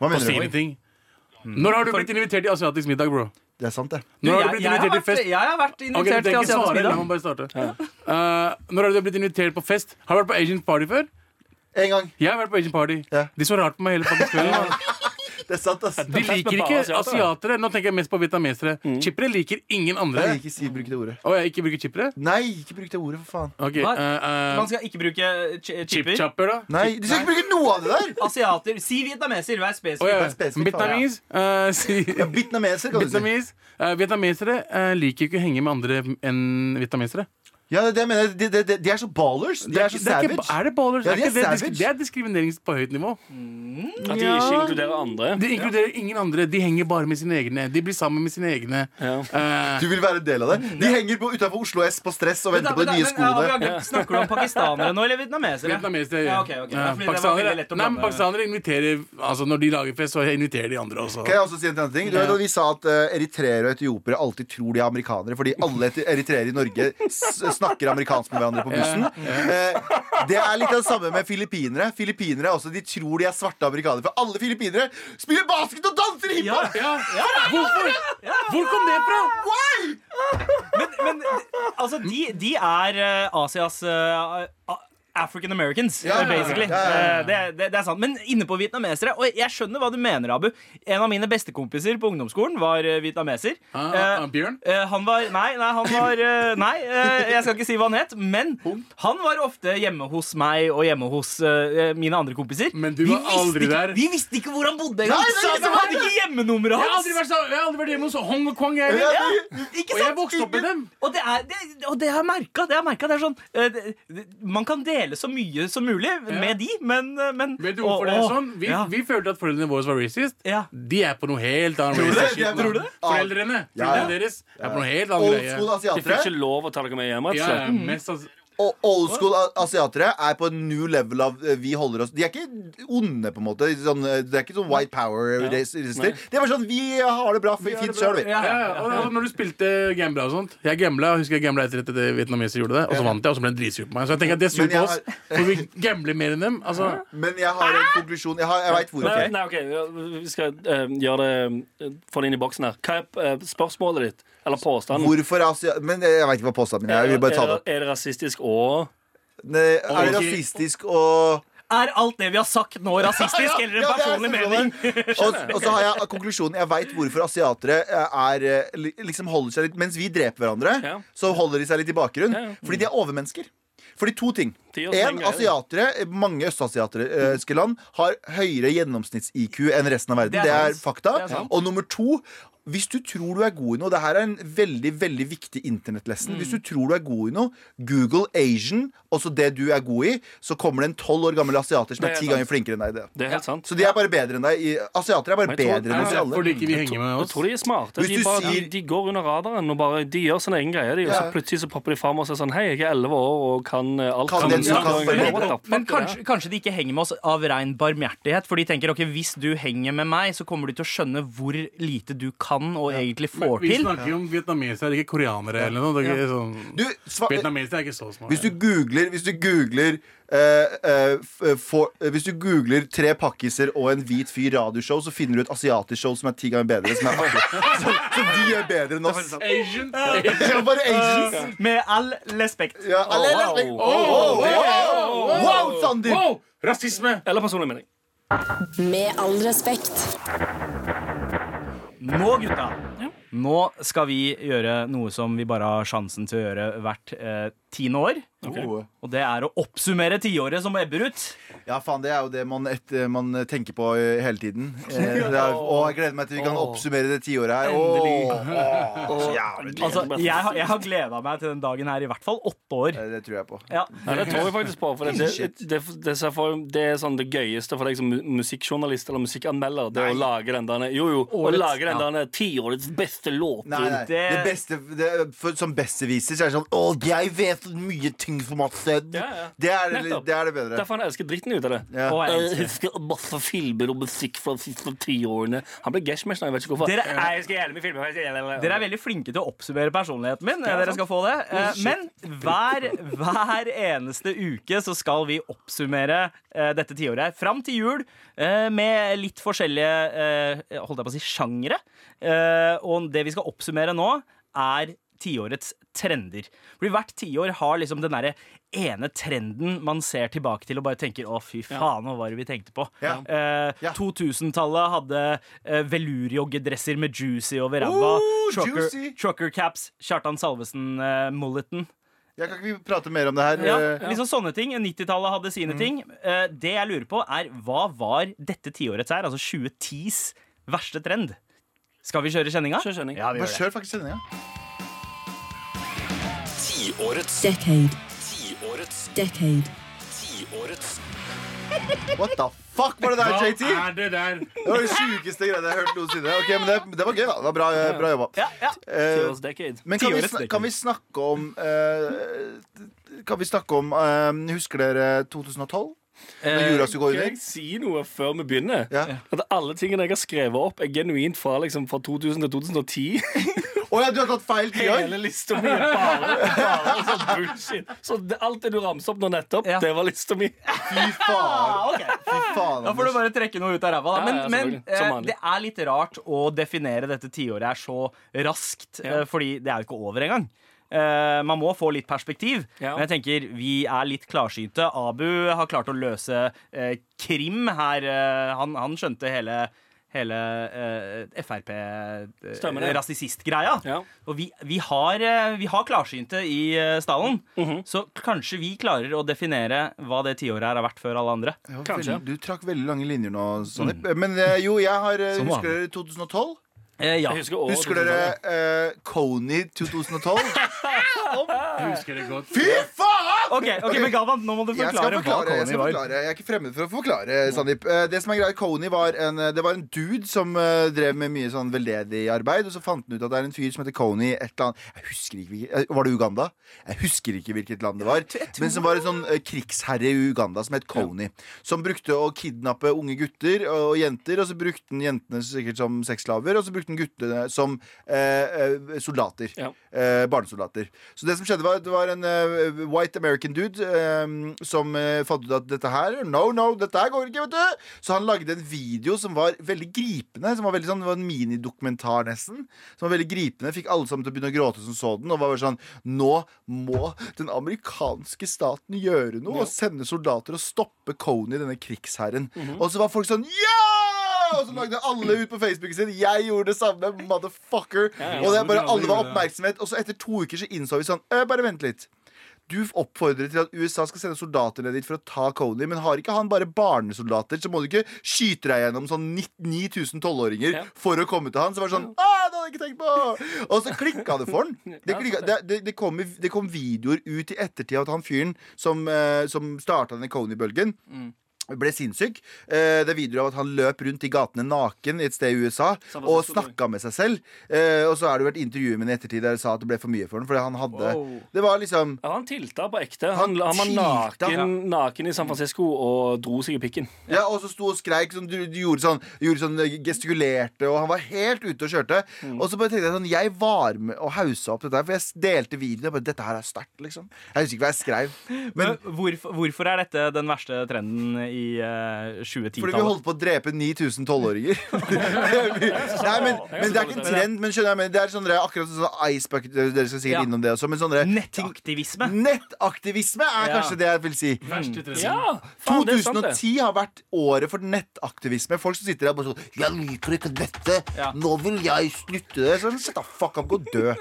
S3: Hva
S5: Og
S3: mener
S5: sine
S3: du?
S5: ting. Når har du blitt invitert i asiatisk middag, bro?
S3: Det er sant, det.
S5: Når har du
S2: Jeg,
S5: blitt
S2: jeg, har
S5: invitert i
S2: vært,
S5: fest?
S2: jeg har vært
S5: Ok, du
S2: invitert til
S5: trenger ikke
S2: asiatisk
S5: svare, la
S2: middag.
S5: meg bare starte. Eh, når har du blitt invitert på fest? Har du vært på Asian party før?
S3: En gang.
S5: Jeg har vært på Asian party.
S3: Ja.
S5: De så rart på meg hele fucking kvelden. da.
S3: Det er sant, ass.
S5: De
S4: Fest med
S5: liker
S4: bare
S5: ikke
S4: asiater, da.
S5: asiatere. Nå tenker jeg mest på vietnamesere. Chippere liker ingen andre.
S3: Nei, ikke si, bruk det ordet.
S5: Å, jeg ikke bruker chippere?
S3: Nei, ikke bruk det ordet, for faen.
S5: Ok,
S2: Hva?
S5: eh, eh,
S2: Man skal ikke bruke ch- chipper.
S5: Chip-chopper, da?
S3: Nei, Du skal ikke bruke noe av det der!
S2: Asiater. Si vietnameser, vær
S5: Å,
S2: spesifikk.
S5: ja.
S3: er spesifikt,
S5: Vietnamis, eh, si-
S3: Ja, Vietnameser, kan du si.
S5: Vietnamis. Eh, Vietnamesere eh, liker ikke å henge med andre enn vietnamesere.
S3: Ja, det er det jeg mener. De, de, de, de er så ballers. De er så
S5: Det er,
S3: savage.
S5: ikke, ba- er det ballers?
S3: Ja,
S5: er
S3: de er
S5: ikke det, disk-
S3: savage.
S5: det er diskriminering på høyt nivå.
S4: At de ikke inkluderer andre.
S5: De inkluderer ingen andre. De henger bare med sine egne. De blir sammen med sine egne.
S4: Ja.
S5: Eh,
S3: Du vil være en del av det. De henger på utafor Oslo S på stress og
S2: Men da-
S3: venter
S2: men
S3: på de
S2: da-
S3: nye
S2: men,
S3: skoene.
S2: ja, vi har- Snakker du om pakistanere nå, eller vietnamesere?
S5: Vietnamesere.
S2: Ja, ok, ok. Det er fordi det
S5: Eh,
S2: var veldig
S5: pakistanere,
S2: lett å
S5: nei, men
S2: blande.
S5: pakistanere inviterer Altså Når de lager fest, så inviterer de andre også.
S3: Kan jeg også si en annen ting? Du vet at Vi sa at eh, eritreere og etiopiere alltid tror de er amerikanere, fordi alle eti- eritreere i Norge s snakker amerikansk med hverandre på bussen. Eh, det er litt av det samme med filippinere. Filippinere også, De tror de er svarte amerikanere, for alle filippinere spiller basket og danser hiphop!
S5: Ja. Hvorfor? Hvor kom det fra?
S3: Why?
S2: Men altså, de, de er eh, Asias eh, a- African Americans,
S3: Ja, ja, ja.
S2: basically.
S3: Ja, ja, ja.
S2: Eh, Det, det, det er sant. Men inne på vietnamesere Og jeg skjønner hva du mener, Abu. En av mine bestekompiser på ungdomsskolen var eh, vietnameser.
S5: Ah, ah, ah,
S2: Eh,
S5: Bjørn?
S2: Eh, han var Nei, nei, han var eh, Nei, eh, jeg skal ikke si hva han het, men han var ofte hjemme hos meg og hjemme hos eh, mine andre kompiser.
S5: Men du
S2: Vi
S5: var
S2: visste
S5: aldri
S2: ikke,
S5: der.
S2: Vi visste ikke hvor han bodde
S3: Nei,
S2: engang!
S3: det er
S2: Så
S3: ikke
S2: Vi
S3: sant.
S2: hadde ikke hjemmenummeret
S5: Jeg har
S2: hans!
S5: aldri vært, sa- jeg har aldri vært hjemme hos Hong Kong. Jeg,
S3: Ja,
S2: Ja,
S3: det-
S2: ikke
S5: og
S2: sant?
S5: jeg vokste opp med dem.
S2: Og det er, det, og det har jeg merka. Det har jeg merket. det er sånn, eh, det, det, man kan dele så mye som mulig med de, men, eh, men
S5: Vet du hvorfor
S2: Å,
S5: det er
S2: å,
S5: sånn? Vi,
S2: ja.
S5: vi følte at foreldrene våre var racist.
S2: Ja.
S5: De er på noe helt annet.
S3: du det?
S5: racist shit,
S3: Jeg
S5: da.
S3: tror det.
S5: Foreldrene
S3: Ja,
S5: foreldrene
S3: ja.
S5: deres er på noe helt
S3: Old school
S5: annet greie.
S4: De fikk
S3: asiatere
S4: ikke lov å ta dere med hjem.
S5: Ja,
S4: Altså.
S5: mest altså.
S3: Og old school a- asiatere er på en new level av eh, vi holder oss De er ikke onde, på en måte. Sånn, eh, det er ikke sånn white power. res- resister. Det er bare sånn Vi har det bra,
S5: har det
S3: fint
S5: bra.
S3: sjøl, vi.
S5: Ja, ja, og, og når du spilte gambla og sånt Jeg gambla, jeg husker jeg gambla etter at det vietnameser gjorde det, og så vant jeg, og så ble jeg dritsur på meg. Så jeg tenker at det er
S3: Men
S5: surt på
S3: jeg
S5: oss, for vi gambler mer enn dem. Altså,
S3: Men jeg har en konklusjon. Jeg, har- jeg veit hvorfor.
S4: Nei, nei, ok, vi- vi skal eh, gjøre det eh, Få det inn i boksen her. Hva er eh, spørsmålet ditt? Eller påstanden?
S3: Hvorfor er asia... Men jeg veit ikke hva påstanden min er. Jeg vil bare ta det opp.
S4: Er, er det rasistisk og
S3: Ne, Er det rasistisk og
S2: Er alt det vi har sagt nå, rasistisk eller en
S3: Ja, det er
S2: personlig
S3: sånn.
S2: mening?
S3: Og, og så har jeg konklusjonen. Jeg veit hvorfor asiatere er, eh, li- liksom holder seg litt Mens vi dreper hverandre,
S4: Ja.
S3: så holder de seg litt i bakgrunnen.
S4: Ja, ja.
S3: Fordi de er overmennesker. Fordi to ting.
S4: De
S3: En,
S4: gjør seg greier.
S3: asiatere, mange østasiatiske land, har høyere gjennomsnitts-IQ enn resten av verden.
S2: Det er
S3: Det er
S2: sant.
S3: fakta.
S2: Det er sant.
S3: Og nummer to hvis du tror du er god i noe Det her er en veldig veldig viktig internettlesson. Hvis du tror du er god i noe, Google Asian, også det du er god i, så kommer det en tolv år gammel asiater som
S4: Det
S3: er
S4: er
S3: ti
S4: sant.
S3: ganger flinkere enn deg i det.
S4: Det er helt sant.
S3: Så de er bare bedre enn deg. i- Asiater er bare
S4: Men jeg tror-
S3: bedre
S5: det
S3: enn oss
S5: er
S3: alle.
S5: fordi ikke vi henger med
S4: Jeg
S5: oss.
S4: tror de er smarte.
S3: Hvis
S4: De,
S3: du
S4: bare,
S3: sier-
S4: de, de går under radaren og bare De gjør sin egen greie, de. Og
S3: Ja.
S4: så plutselig så popper de fram og sier sånn Hei, jeg er 11 år og kan eh, alt.
S3: Kan
S5: det, ja,
S4: snakke engang.
S5: kan det.
S4: What the fuck
S2: Men
S4: er det?
S2: kanskje, kanskje de ikke henger med oss av rein barmhjertighet. For de tenker ok, hvis du henger med meg, så kommer du til å skjønne hvor lite du kan og egentlig får
S5: Vi
S2: til.
S5: snakker jo om vietnamesere, ikke koreanere eller noe. Det er ikke sånn.
S3: Du, sva
S5: Vietnamesere er ikke så smarte.
S3: hvis du googler, hvis du googler eh, eh, f- for, eh, Hvis du googler tre pakkiser og en hvit fyr radioshow, så finner du et asiatisk show som er ti ganger bedre. Som, er artig. så, så de er bedre enn oss.
S5: Asian
S3: Det er bare Asians.
S2: Med all respekt.
S3: Ja, alle er
S4: wow.
S3: like- Wow, wow, wow, Sandeep!
S5: Wow! Rasisme!
S4: Eller personlig mening.
S6: Med all respekt.
S2: Nå, gutta, nå skal vi gjøre noe som vi bare har sjansen til å gjøre hvert eh, tiende år.
S3: Oh.
S2: Og det er å oppsummere tiåret som ebber ut.
S3: Ja, faen, det er jo det man, et, man tenker på eh, hele tiden. Eh, det er, og jeg gleder meg til vi kan oppsummere det tiåret her. Åh, åh, så jævlig.
S2: Altså, Jeg, har- jeg har gleda meg til den dagen her i hvert fall åtte år.
S3: Eh, Det tror jeg på.
S2: Ja.
S4: Ja, det tror jeg faktisk på. For det, det,
S3: Shit.
S4: det, det, ser for, det er sånn det gøyeste for deg som mu- musikkjournalist eller musikkanmelder. Det å lage den der Jo, jo. Å
S2: Årets-
S4: lage den
S2: ja.
S4: der tiårets beste låt.
S3: Nei, nei. Det,
S2: Det-
S3: beste det, for, Som beste viser, så er det sånn Åh, jeg vet mye ting for meg selv.
S4: Ja, ja.
S3: Det, er, det-
S4: Nettopp.
S3: det er det bedre.
S4: Derfor han elsker dritten ut av det.
S3: Ja.
S2: Og jeg
S4: Jeg
S2: elsker det.
S4: husker masse filmer og musikk fra de siste tiårene. Han ble gashmash nå, jeg vet ikke hvorfor.
S2: Dere er-
S4: Nei, jeg husker jævlig mye filmer.
S2: Dere er veldig flinke til å oppsummere personligheten min. Dere skal få det.
S3: Oh,
S2: Eh, Men hver, hver eneste uke så skal vi oppsummere eh, dette tiåret her. Fram til jul eh, med litt forskjellige eh, holdt jeg på å si, sjangere. Eh, Og det vi skal oppsummere nå, er tiårets trender. Fordi hvert tiår har liksom den derre ene trenden man ser tilbake til og bare tenker 'å, fy faen, hva var det vi tenkte på'?
S3: Ja.
S2: Eh,
S3: Ja.
S2: 2000-tallet hadde eh, velurjoggedresser med juicy over ræva.
S3: Oh,
S2: trucker,
S3: juicy!
S2: trucker caps, Kjartan Salvesen-mulleten.
S3: Jeg kan ikke vi prate mer om det her?
S2: ja,
S3: eh,
S2: liksom sånne ting. 90-tallet hadde sine ting. Eh, det jeg lurer på, er hva var dette tiårets her, altså 2010s verste trend? Skal vi kjøre kjenninga?
S4: Kjør kjenning.
S2: Ja, vi gjør
S3: Bare
S2: det.
S3: kjør faktisk sendinga.
S1: Tiårets
S6: Decade.
S1: Tiårets
S6: Decade.
S1: Tiårets
S3: What the fuck var det der, JT?
S5: Hva er det der?
S3: Det var det sjukeste greiene jeg har hørt noensinne. Ok, men det, det var gøy, da. Det var bra, eh, bra jobba.
S2: Ja, ja.
S3: Eh,
S4: Tiårets decade.
S3: men kan vi,
S2: Tiårets
S3: snak-
S2: dekning.
S3: kan vi snakke om eh, Kan vi snakke om eh, Husker dere 2012?
S4: Eh,
S3: Med jorda som går
S4: Kan jeg
S3: under?
S4: si noe før vi begynner?
S3: Ja.
S4: At alle tingene jeg har skrevet opp, er genuint fra, liksom, fra 2000 til 2010.
S3: Å ja, du har tatt feil tiår?
S4: Hele lista mi er bare, bare sånn bullshit. Så det, alt det du ramset opp nå nettopp,
S2: Ja.
S4: det var lista mi.
S3: Fy faen.
S2: Ah, ok.
S3: Fy faen
S2: Da får du
S3: Anders.
S2: bare trekke noe ut av ræva. Da.
S4: Ja,
S2: Men,
S4: ja,
S2: men
S4: selvfølgelig. Som
S2: eh,
S4: vanlig.
S2: det er litt rart å definere dette tiåret her så raskt, eh,
S4: Ja.
S2: fordi det er jo ikke over engang. Eh, man må få litt perspektiv.
S4: Ja.
S2: Men jeg tenker vi er litt klarsynte. Abu har klart å løse eh, krim her. eh, han, han skjønte hele, hele eh,
S4: Stemmer det.
S2: Frp-rasististgreia.
S4: Ja.
S2: eh, Og vi, vi, har, eh, vi har klarsynte i eh, stallen,
S4: Mhm.
S2: så kanskje vi klarer å definere hva det tiåret her har vært før alle andre.
S3: Det var
S4: Kanskje.
S3: veldig- Du trakk veldig lange linjer nå, Sanip. Men eh, jo, jeg har eh,
S2: Som
S3: Husker dere 2012?
S2: Eh, ja.
S4: Jeg husker året
S3: Husker dere
S4: 2000-tallet.
S3: eh, Kony 2012?
S5: Jeg husker det godt.
S3: Fy faen!
S2: Ok, ok, men Galvan, nå må du
S3: Jeg
S2: forklare,
S3: skal
S2: hva
S3: forklare, jeg skal
S2: Kony var.
S3: forklare. Jeg er ikke fremmed for å forklare, Sandeep. Eh, Det som er greia, Kony var en, eh, det var en dude som eh, drev med mye sånn veldedig arbeid, og så fant han ut at det er en fyr som heter Kony i et eller annet Jeg husker ikke hvilket eh, Var det Uganda? Jeg husker ikke hvilket land det var. Men som var en sånn eh, krigsherre i Uganda som het Kony. Som brukte å kidnappe unge gutter og jenter, og så brukte han jentene sikkert som sexslaver, og så brukte han guttene som eh, eh, soldater.
S4: Ja.
S3: Eh, barnesoldater. Så det som skjedde var at det var en eh, white American dude eh, som eh, fant ut at dette her No, no, dette her går ikke, vet du! Så han lagde en video som var veldig gripende. Som var veldig sånn, det var En minidokumentar, nesten. Som var veldig gripende. Fikk alle sammen til å begynne å gråte som så den. Og var bare sånn Nå må den amerikanske staten gjøre noe og sende soldater og stoppe Kony, denne krigsherren. Og så var folk sånn Ja! Og så lagde alle ut på Facebooken sin. Jeg gjorde det samme, motherfucker. Og det er bare alle var oppmerksomhet. Og så etter to uker så innså vi sånn «Øh, Bare vent litt. Du oppfordrer til at USA skal sende soldater ned dit for å ta Kony, men har ikke han bare barnesoldater, så må du ikke skyte deg gjennom sånn 9000 tolvåringer
S4: Ja. for
S3: for å komme til han. Så var det sånn ah, det hadde jeg ikke tenkt på! Og så klikka det for han. Det, klikket- det, det, det, kom, det kom videoer ut i ettertid av at han fyren som, eh, som starta denne Kony-bølgen ble sinnssyk. Eh, det er videoer av at han løp rundt i gatene naken i et sted i USA
S4: Samme
S3: og
S4: som Solberg.
S3: snakka med seg selv. Eh, og så er det jo et intervju med ham i ettertid der det sa at det ble for mye for ham. Fordi han hadde
S2: Wow.
S3: Det var liksom
S4: Ja, han tilta på ekte. Han,
S3: Han
S4: han var
S3: tilta.
S4: naken, naken i San Francisco og dro seg i pikken.
S3: Ja, og så sto og skreik sånn, du, du gjorde sånn, gjorde sånn eh, gestikulerte, og han var helt ute og kjørte.
S2: Mm.
S3: Og så bare tenkte jeg sånn, jeg var med og hausa opp dette her, for jeg s- delte videoen. og bare, Dette her er sterkt, liksom. Jeg husker ikke hva jeg skrev. Men
S2: Men hvorfor, hvorfor er dette den verste trenden i eh,
S3: fordi vi
S2: 2010-tallet?
S3: holdt på å drepe 9000 tolvåringer. Nei, men, men det er ikke en trend, men skjønner jeg, men det er sånn, det er akkurat sånn ice bucket, dere skal sikkert
S2: Ja.
S3: innom det også, men sånn det- ting-
S2: Nettaktivisme.
S3: Nettaktivisme er
S2: Ja.
S3: kanskje det jeg vil si.
S5: Verste trenden.
S4: Ja, faen, det er sant, det.
S3: 2010 har vært året for nettaktivisme. Folk som sitter der bare sånn 'Jeg liker ikke dette.
S2: Ja.
S3: Nå vil jeg slutte det.' Sånn, Shut the fuck up, gå og dø.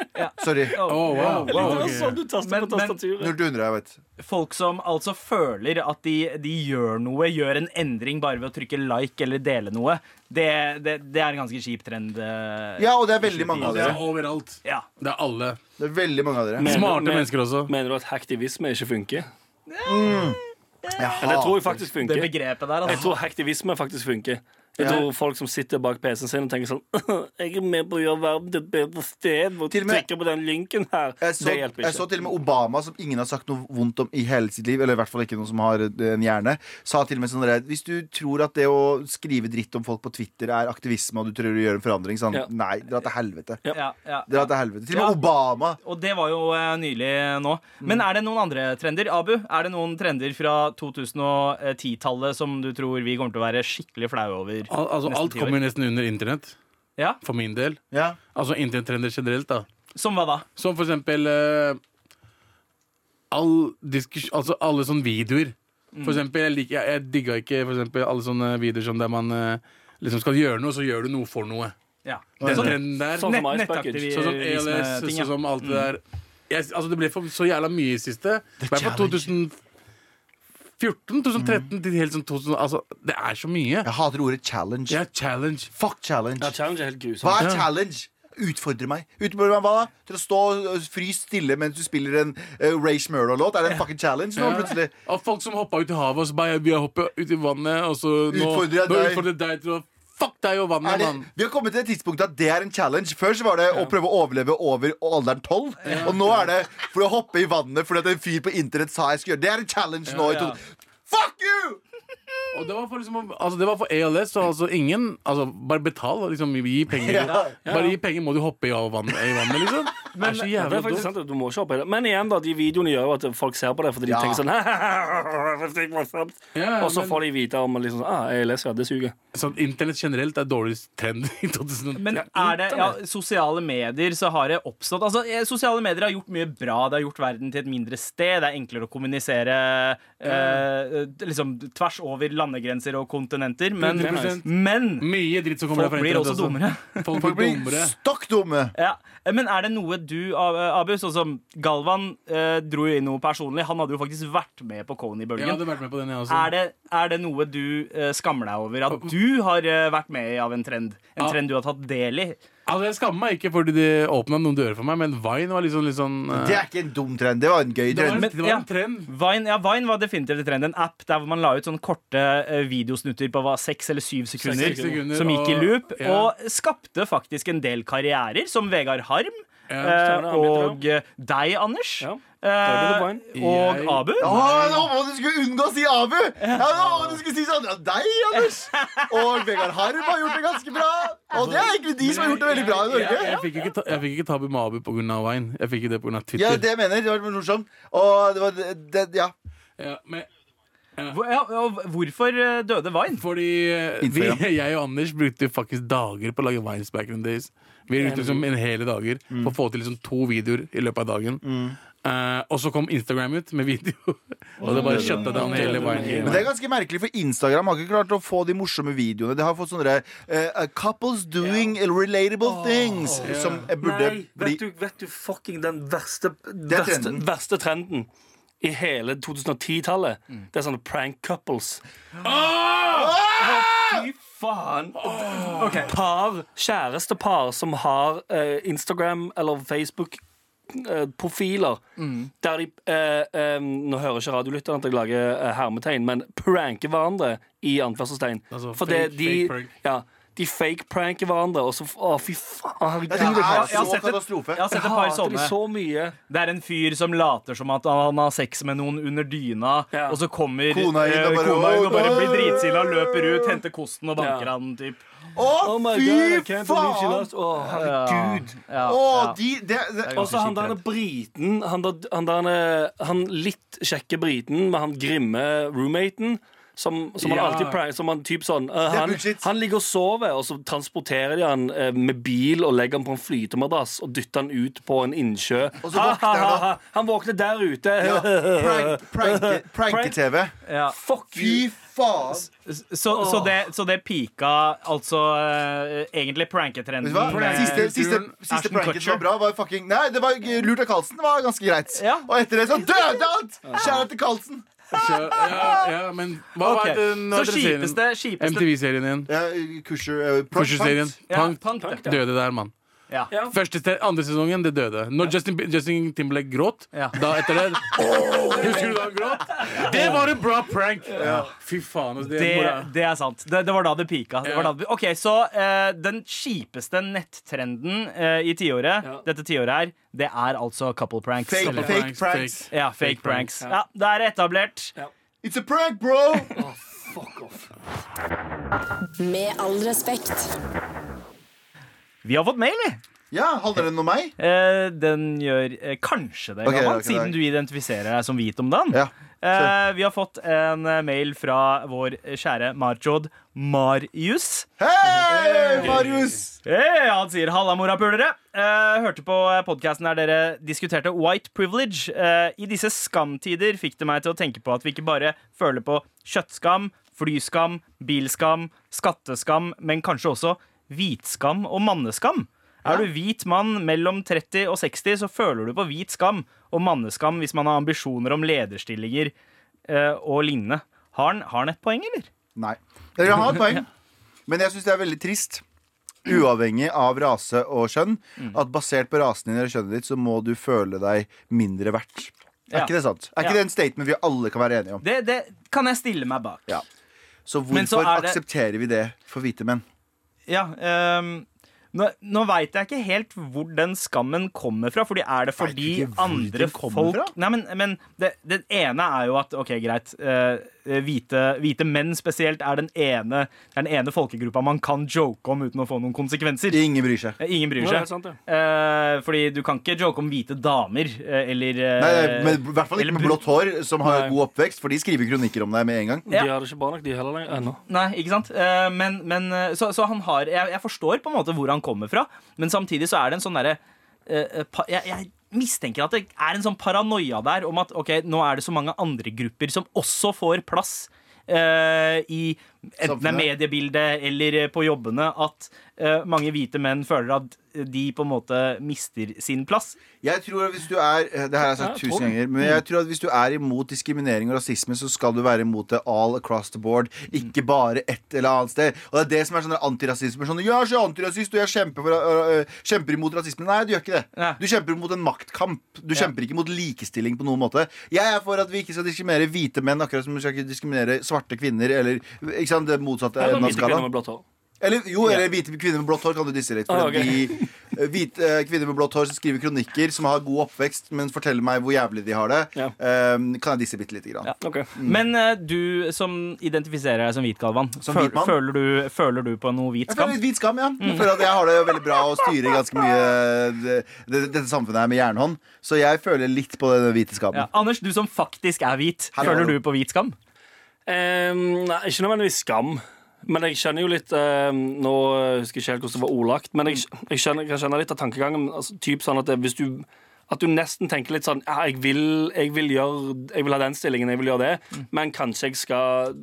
S3: Sorry.
S5: Oh, wow.
S4: Det
S5: wow
S4: var
S5: ok.
S4: sånn du taster
S2: Men-
S4: på
S2: men-
S4: tastaturet.
S3: Null til hundre, jeg vet.
S2: Folk som altså føler at de, de gjør noe, gjør en endring bare ved å trykke like eller dele noe. Det, det, det er en ganske kjip trend. eh,
S3: Ja, og det er veldig mange av
S5: Det er
S3: dere.
S5: overalt.
S2: ja.
S5: Det er alle.
S3: Det er veldig mange av dere.
S4: Mener-
S5: Smarte
S4: men-
S5: mennesker også.
S4: Mener du at hacktivisme ikke funker?
S3: Jeg
S4: Eller jeg
S3: hater
S4: tror jeg faktisk
S2: Det
S4: funker.
S2: begrepet der,
S4: Jeg
S2: altså.
S4: tror hacktivisme faktisk funker. Jeg tror folk som sitter bak PC-en sin og tenker sånn Jeg er med på å gjøre verden til et bedre sted ved å
S3: Til og med-
S4: trykke på den linken her.
S3: jeg så,
S4: det hjelper
S3: jeg så
S4: ikke.
S3: til og med Obama, som ingen har sagt noe vondt om i hele sitt liv, eller i hvert fall ikke noen som har eh, en hjerne, sa til og med sånn der, Hvis du tror at det å skrive dritt om folk på Twitter er aktivisme, og du tror du gjør en forandring, sånn
S4: Ja.
S3: Nei, dra til helvete.
S4: Ja.
S2: Ja, ja.
S3: Dra til helvete. Til og med
S2: Ja.
S3: Obama.
S2: Og det var jo eh, nylig nå. Men er det noen andre trender? Abu, er det noen trender fra 2010-tallet som du tror vi kommer til å være skikkelig flaue over?
S5: Al altså,
S2: Nesten
S5: alt
S2: ti år.
S5: kommer jo nesten under internett,
S2: Ja?
S5: for min del.
S3: Ja.
S5: Altså internettrender generelt, da.
S2: Som hva da?
S5: Som for eksempel eh, all diskus, altså alle sånne videoer.
S2: Mm.
S5: For eksempel, jeg, liker, jeg, jeg digga ikke for eksempel, alle sånne videoer som der man eh, liksom skal gjøre noe, så gjør du noe for noe.
S2: Ja.
S5: Den
S2: Sånn-
S5: trenden der.
S4: Sånn som
S2: nett-
S4: Ice Bucket.
S2: nettaktivisme-
S5: Sånn som ELS,
S2: ting, ja. Mm.
S5: sånn som alt det der. Jeg, altså Det ble for, så jævla mye i siste. I hvert fall 2014, 2013
S2: Mm.
S5: til helt sånn 2000 Altså, det er så mye.
S3: Jeg hater ordet challenge.
S5: Det er challenge.
S3: Fuck challenge.
S4: Ja, challenge er helt
S3: Hva
S4: grusomt.
S3: er challenge? Utfordre meg. Utfordre meg hva da? Til å stå og fryse stille mens du spiller en eh, Ray Shmurda-låt? Er det en fucking challenge nå, plutselig?
S5: Av folk som hoppa ut i havet, og så bare Vi har hoppet ut i vannet, og så nå
S3: Utfordrer jeg
S5: nå
S3: deg.
S5: utfordrer jeg deg til å Fuck deg og vannet,
S3: Er det,
S5: mann.
S3: vi har kommet til det tidspunktet at det er en challenge. Før så var det å prøve å overleve over alderen 12. Og nå er det for å hoppe i vannet fordi at en fyr på internett sa jeg skulle gjøre. Det er en challenge nå. i
S2: ja.
S3: to- Fuck you!
S5: Og det var for, liksom, altså, det var for ALS, og altså ingen altså, Bare betal, liksom. Gi penger. Bare gi penger, må du hoppe i vannet, i vannet liksom. det er så
S4: Ja, det
S5: jævla
S4: er faktisk
S5: dumt.
S4: sant, du må ikke hoppe i det. Men igjen, da, de videoene gjør jo at folk ser på det fordi de
S3: Ja.
S4: tenker sånn «Hahaha, det var sant».
S5: Ja,
S4: Og så
S5: men-
S4: får de vite om liksom, sånn, ah, ALS, ja, det suger.
S5: Sånn, Internett generelt er dårlig trend i 2010.
S2: Men er det ja, sosiale medier så har det oppstått Altså, eh, Sosiale medier har gjort mye bra. Det har gjort verden til et mindre sted. Det er enklere å kommunisere eh, liksom tvers over landegrenser og kontinenter. Men,
S5: 100%.
S2: men
S5: Mye dritt som kommer altså.
S2: folk blir også dummere.
S5: Folk
S3: Folk
S5: blir
S3: blir
S5: dummere.
S3: stokk dumme.
S2: Ja, Eh, Men er det noe du, Ab- Abu, sånn som Galvan eh, dro jo inn noe personlig. Han hadde jo faktisk vært med på
S5: Jeg
S2: Kony-bølgen.
S5: hadde vært med på den, jeg også.
S2: er, det, er det noe du eh, skammer deg over? At du har eh, vært med i av en trend? En
S5: Ja.
S2: trend du har tatt del i?
S5: Altså, jeg skammer meg ikke fordi det åpna noen dører for meg, men Vine var liksom litt sånn eh,
S3: Det er ikke en dum trend. Det var en gøy
S5: det, var
S3: trend.
S5: en,
S2: Men-
S5: det var
S2: ja.
S5: en trend.
S2: Vine, ja, Vine var definitivt en trend. En app der hvor man la ut sånne korte eh, videosnutter på hva, seks eller syv sekunder,
S5: Seks sekunder,
S2: som gikk i
S5: og-
S2: loop,
S5: ja.
S2: og skapte faktisk en del karrierer, som Vegard Harm.
S5: Ja,
S2: eh,
S4: stemmer det, han
S2: og eh, deg, Anders.
S4: Ja.
S2: Eh,
S4: Der ble det
S2: og
S5: Jeg-
S2: Abu.
S3: Å, jeg håpet du skulle unngå å si Abu! Jeg håpet du skulle si sånn ja, Deg, Anders! Og Vegard Harm har gjort det ganske bra.
S4: Altså,
S3: Og det er egentlig de som har gjort det veldig bra i
S5: Jeg,
S3: Norge.
S5: jeg, fikk ikke ta- jeg fikk ikke tabu med Abu pga. Vine. Jeg fikk ikke det pga. Twitter.
S3: Ja, det jeg mener. Det var morsomt. Og det var det, det, Ja.
S5: Ja, men
S2: Hvor- Ja, og hvorfor eh, døde Vine?
S5: fordi eh, vi,
S3: Instagram.
S5: jeg og Anders brukte faktisk dager på å lage Vines back in the days. Vi brukte liksom en hele dager
S3: Mm.
S5: på å få til liksom to videoer i løpet av dagen. Eh, og så kom Instagram ut med video, og det bare shutta down hele Vine.
S3: Men det er ganske merkelig, for Instagram har ikke klart å få de morsomme videoene. Det har fått sånne der, eh, couples doing relatable things. Som jeg burde bli
S4: du, fucking den verste,
S3: er verste- trenden.
S4: trenden i hele 2010-tallet? Det er sånne prank couples.
S3: Ah!
S4: Fy faen! Par, kjærestepar som har eh, Instagram eller Facebook eh, Profiler
S3: Mm.
S4: der de eh, eh, Nå hører ikke radiolytterne at jeg lager eh, hermetegn, men pranker hverandre i anførselstegn.
S5: Altså,
S4: For det-
S5: fake-
S4: de,
S5: fake prank.
S4: Ja, de fake-pranker hverandre, og så Å, fy faen.
S3: Det er
S2: har- jeg har
S3: så
S2: sett et-
S3: katastrofe.
S2: Jeg har sett et par
S4: hater de
S2: sånne.
S4: så mye.
S2: Det er en fyr som later som at han har sex med noen under dyna,
S4: Ja.
S2: og så kommer eh, kona
S3: Kona inn og bare-
S2: inn og bare blir dritsilla, løper ut, henter kosten og banker
S4: Ja.
S2: han. Typ.
S3: Å,
S4: Oh my God, I
S3: fy
S4: can't believe she
S3: faen!
S4: lost. Å, herregud.
S2: Ja,
S3: Å,
S2: ja.
S3: de det, det,
S4: Og så han der briten, han, der, han, der, eh, han litt kjekke briten med han grimme roommaten. Som, som han
S5: Ja.
S4: alltid prank, som han typ sånn eh,
S3: er
S4: han,
S3: bullshit.
S4: han ligger og sover, og så transporterer de han eh, med bil og legger han på en flytemadrass og dytter han ut på en innsjø.
S3: Og så våkner han da.
S4: han, våkner der ute.
S3: ja, prank- pranke- Pranke-TV.
S2: Ja.
S4: Fuck
S3: Fy
S4: you.
S3: faen!
S2: Så, så, det, så det pika altså eh, egentlig pranketrenden.
S3: Vet du hva?
S2: med-
S3: Siste, siste, siste
S2: Ashton
S3: pranket som
S2: Kutcher.
S3: var bra, var fucking Nei, det var lurt av Carlsen. var ganske greit.
S2: Ja.
S3: Og etter det så døde han! Kjære til Carlsen.
S5: Så, ja, ja, men hva
S2: Ok,
S5: var den
S3: eh,
S2: Så
S5: andre serien?
S2: kjipeste, kjipeste
S5: MTV-serien igjen.
S3: Ja, Kusher eh, prank-
S5: Pusher-serien.
S3: prank.
S2: Ja,
S5: Punk
S2: punk, ja.
S5: døde der, mann.
S2: Ja.
S4: Ja.
S5: Første se- andre sesongen, det døde. Når Justin, Justin Timberlake gråt,
S2: Ja.
S5: da etter det Husker du da han gråt? Det var en bra prank! Fy faen. altså, Det,
S2: Det,
S5: må da-
S2: det er sant. Det, det var da det pika. Det var da
S5: Ja.
S2: det, ok, Så eh, den kjipeste nettrenden eh, i tiåret,
S4: Ja.
S2: dette tiåret her, det er altså couple pranks.
S3: Fake,
S5: Couple
S3: fake
S5: pranks,
S3: pranks.
S5: fake.
S2: Ja, fake, pranks. Ja. Det er etablert.
S3: It's a prank, bro!
S4: Fuck off.
S6: Med all respekt.
S2: Vi har fått mail, vi.
S3: Ja, Handler den om meg?
S2: Eh, den gjør eh, kanskje det,
S3: Ok,
S2: Galvan,
S3: ok,
S2: siden
S3: ok.
S2: du identifiserer deg som hvit om dagen.
S3: Ja.
S2: Eh, vi har fått en eh, mail fra vår kjære Marjod Marius.
S3: Hei, Marius!
S2: Hei, han sier 'halla, morapulere'. Eh, hørte på podkasten der dere diskuterte white privilege. Eh, I disse skamtider fikk det meg til å tenke på at vi ikke bare føler på kjøttskam, flyskam, bilskam, skatteskam, men kanskje også hvitskam og manneskam. Er du hvit mann mellom 30 og 60, så føler du på hvit skam og manneskam hvis man har ambisjoner om lederstillinger eh, og lignende. Har han, har han et poeng, eller?
S3: Nei. Dere har et poeng. Men jeg syns det er veldig trist, uavhengig av rase og kjønn, at basert på rasen din eller kjønnet ditt, så må du føle deg mindre verdt. Er
S2: Ja.
S3: ikke det sant? Er ikke
S2: Ja.
S3: det en statement vi alle kan være enige om?
S2: Det, det kan jeg stille meg bak.
S3: Ja. Så
S2: Men så
S3: hvorfor
S2: er det-
S3: aksepterer vi det for hvite menn?
S2: Ja, ehm, nå, nå veit jeg ikke helt hvor den skammen kommer fra. Fordi er det fordi
S3: ikke hvor
S2: andre
S3: den kommer
S2: folk
S3: fra?
S2: Nei, men, men det, det ene er jo at OK, greit. eh, hvite, hvite menn spesielt er den ene, er den ene folkegruppa man kan joke om uten å få noen konsekvenser.
S3: Ingen bryr seg.
S2: Eh, Ingen bryr seg.
S4: Ja, det er sant, ja.
S2: Eh, fordi du kan ikke joke om hvite damer eh, eller eh,
S3: Nei, nei, men I hvert fall ikke
S2: eller
S3: med
S2: bru-
S3: blått hår, som har
S4: Nei.
S3: god oppvekst, for de skriver kronikker om deg med en gang.
S4: De har det ikke bra nok, de heller, ennå.
S2: Nei, ikke sant? Eh, Men, men eh, så, så han har jeg, jeg forstår på en måte hvor han kommer fra, men samtidig så er det en sånn derre eh, eh, pa- jeg, jeg mistenker at det er en sånn paranoia der om at ok, nå er det så mange andre grupper som også får plass. eh, I enten det er
S3: Samfunnet.
S2: mediebildet eller eh, på jobbene at eh, mange hvite menn føler at de på en måte mister sin plass.
S3: Jeg tror at hvis du er eh, Det her har jeg sagt
S4: Ja,
S3: tusen
S4: tolv.
S3: ganger. Men jeg tror at hvis du er imot diskriminering og rasisme, så skal du være imot det all across the board. Ikke bare et eller annet sted. Og det er det som er sånn antirasisme. Sånn, jeg er så antirasist, og jeg kjemper, for, øh, øh, kjemper imot rasisme. Nei, du gjør ikke det.
S2: Nei.
S3: Du kjemper mot en maktkamp. Du kjemper ikke mot likestilling på noen måte. Jeg er for at vi ikke skal diskriminere hvite menn, akkurat som vi skal ikke diskriminere svarte kvinner. Eller ikke sant, det motsatte
S4: Eller
S3: enden av
S4: hvite kvinner
S3: skalaen.
S4: med blått hår.
S3: Eller, jo, eller hvite kvinner med blått hår kan du disse litt. For
S4: Ah,
S3: at de, eh, hvite eh, kvinner med blått hår som skriver kronikker, som har god oppvekst, men forteller meg hvor jævlig de har det,
S4: Ja.
S3: eh, kan jeg disse bitte lite grann.
S2: Ja.
S4: Ok.
S3: Mm.
S2: Men eh, du som identifiserer deg som hvit, Galvan,
S3: Som
S2: føl-
S3: hvit mann?
S2: føler, du, føler du på noe hvit
S3: Jeg føler
S2: skam?
S3: litt hvit skam,
S4: Mm.
S3: ja. Jeg føler at jeg har det veldig bra og styrer ganske mye det, det, dette samfunnet her med jernhånd. Så jeg føler litt på den hvite
S2: Ja.
S3: skammen.
S2: Anders, du som faktisk er hvit,
S3: Hallo,
S2: føler du
S3: hallo.
S2: på hvit skam?
S4: Ehm, nei, ikke nødvendigvis skam. Men jeg skjønner jo litt ehm, Nå husker jeg ikke helt hvordan det var ordlagt, men jeg, jeg skjønner, kan skjønne litt av tankegangen. Altså, typ sånn at det, hvis du at du nesten tenker litt sånn ja, jeg, vil, jeg, vil gjøre, jeg vil ha den stillingen, jeg vil gjøre det, men kanskje jeg skal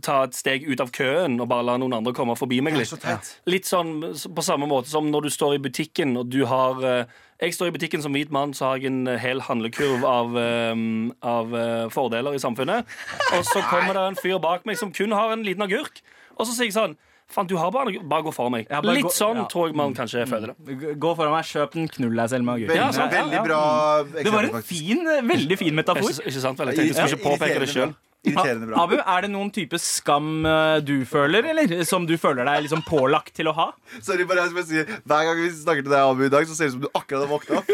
S4: ta et steg ut av køen og bare la noen andre komme forbi meg litt. Litt sånn på samme måte som når du står i butikken og du har eh, Jeg står i butikken som hvit mann, så har jeg en eh, hel handlekurv av, eh, av eh, fordeler i samfunnet. Og så kommer det en fyr bak meg som kun har en liten agurk. Og så sier jeg sånn Faen, du har bare en agurk. Bare gå for meg.
S2: Ja, bare
S4: Litt
S2: gå-
S4: sånn
S2: ja. Mm.
S4: tror jeg man kanskje føler det.
S2: G- Gå foran meg, kjøp den, knull deg selv med agurk.
S3: Veldig,
S4: Ja, Mm. sant,
S3: veldig bra eksempel,
S2: Det var en
S3: faktisk.
S2: fin, eh, veldig fin metafor.
S4: Ikke, ikke sant vel? Jeg tenkte jeg skulle ikke påpeke det sjøl.
S3: Irriterende bra.
S2: Abu, er det noen type skam eh, du føler, eller? Som du føler deg liksom pålagt til å ha?
S3: Sorry, bare jeg skal bare si Hver gang vi snakker til deg, Abu, i dag, så ser det ut som du akkurat har våkna opp.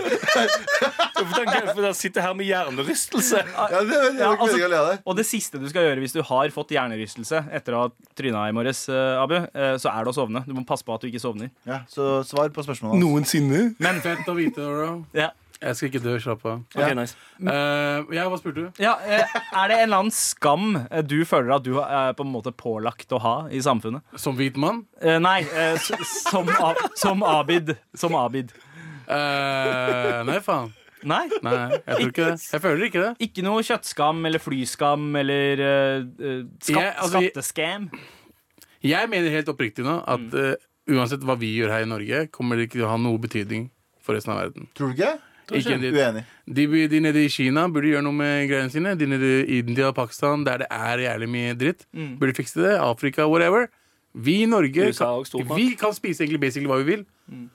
S4: For jeg sitter her med hjernerystelse.
S3: Ja, det, det, det,
S2: Ja, altså-
S3: det, det, det.
S2: Og det siste du skal gjøre hvis du har fått hjernerystelse etter å ha tryna i morges, eh, Abu, eh, så er det å sovne. Du må passe på at du ikke sovner.
S3: Ja, så svar på spørsmålet hans.
S4: Noensinne.
S5: Men fett å vite, bro.
S2: Ja. Mm.
S5: Jeg skal ikke dø. Slapp av.
S4: Ok, nice.
S5: Eh, ja, hva spurte du?
S2: Ja, eh, er det en eller annen skam eh, du føler at du er på en måte pålagt å ha i samfunnet?
S5: Som hvit mann?
S2: Eh, nei, eh, s- som, A- som Abid. Som Abid.
S5: Eh, nei, faen.
S2: Nei.
S5: Nei, jeg tror ikke det. Jeg føler ikke det.
S2: Ikke noe kjøttskam eller flyskam eller eh, eh, skatt,
S5: Jeg- altså, jeg-
S2: skatteskam.
S5: Jeg mener helt oppriktig nå at
S2: Mm.
S5: eh, uansett hva vi gjør her i Norge, kommer det ikke til å ha noe betydning for resten av verden.
S3: Tror du ikke?
S5: Ikke en dritt.
S3: Uenig.
S5: de, by- de nede i Kina burde gjøre noe med greiene sine. De nede i India og Pakistan, der det er jævlig mye dritt, burde fikse det. Afrika, whatever. Vi i Norge
S4: USA er også
S5: kan,
S4: stormakt.
S5: vi kan spise egentlig basically hva vi vil,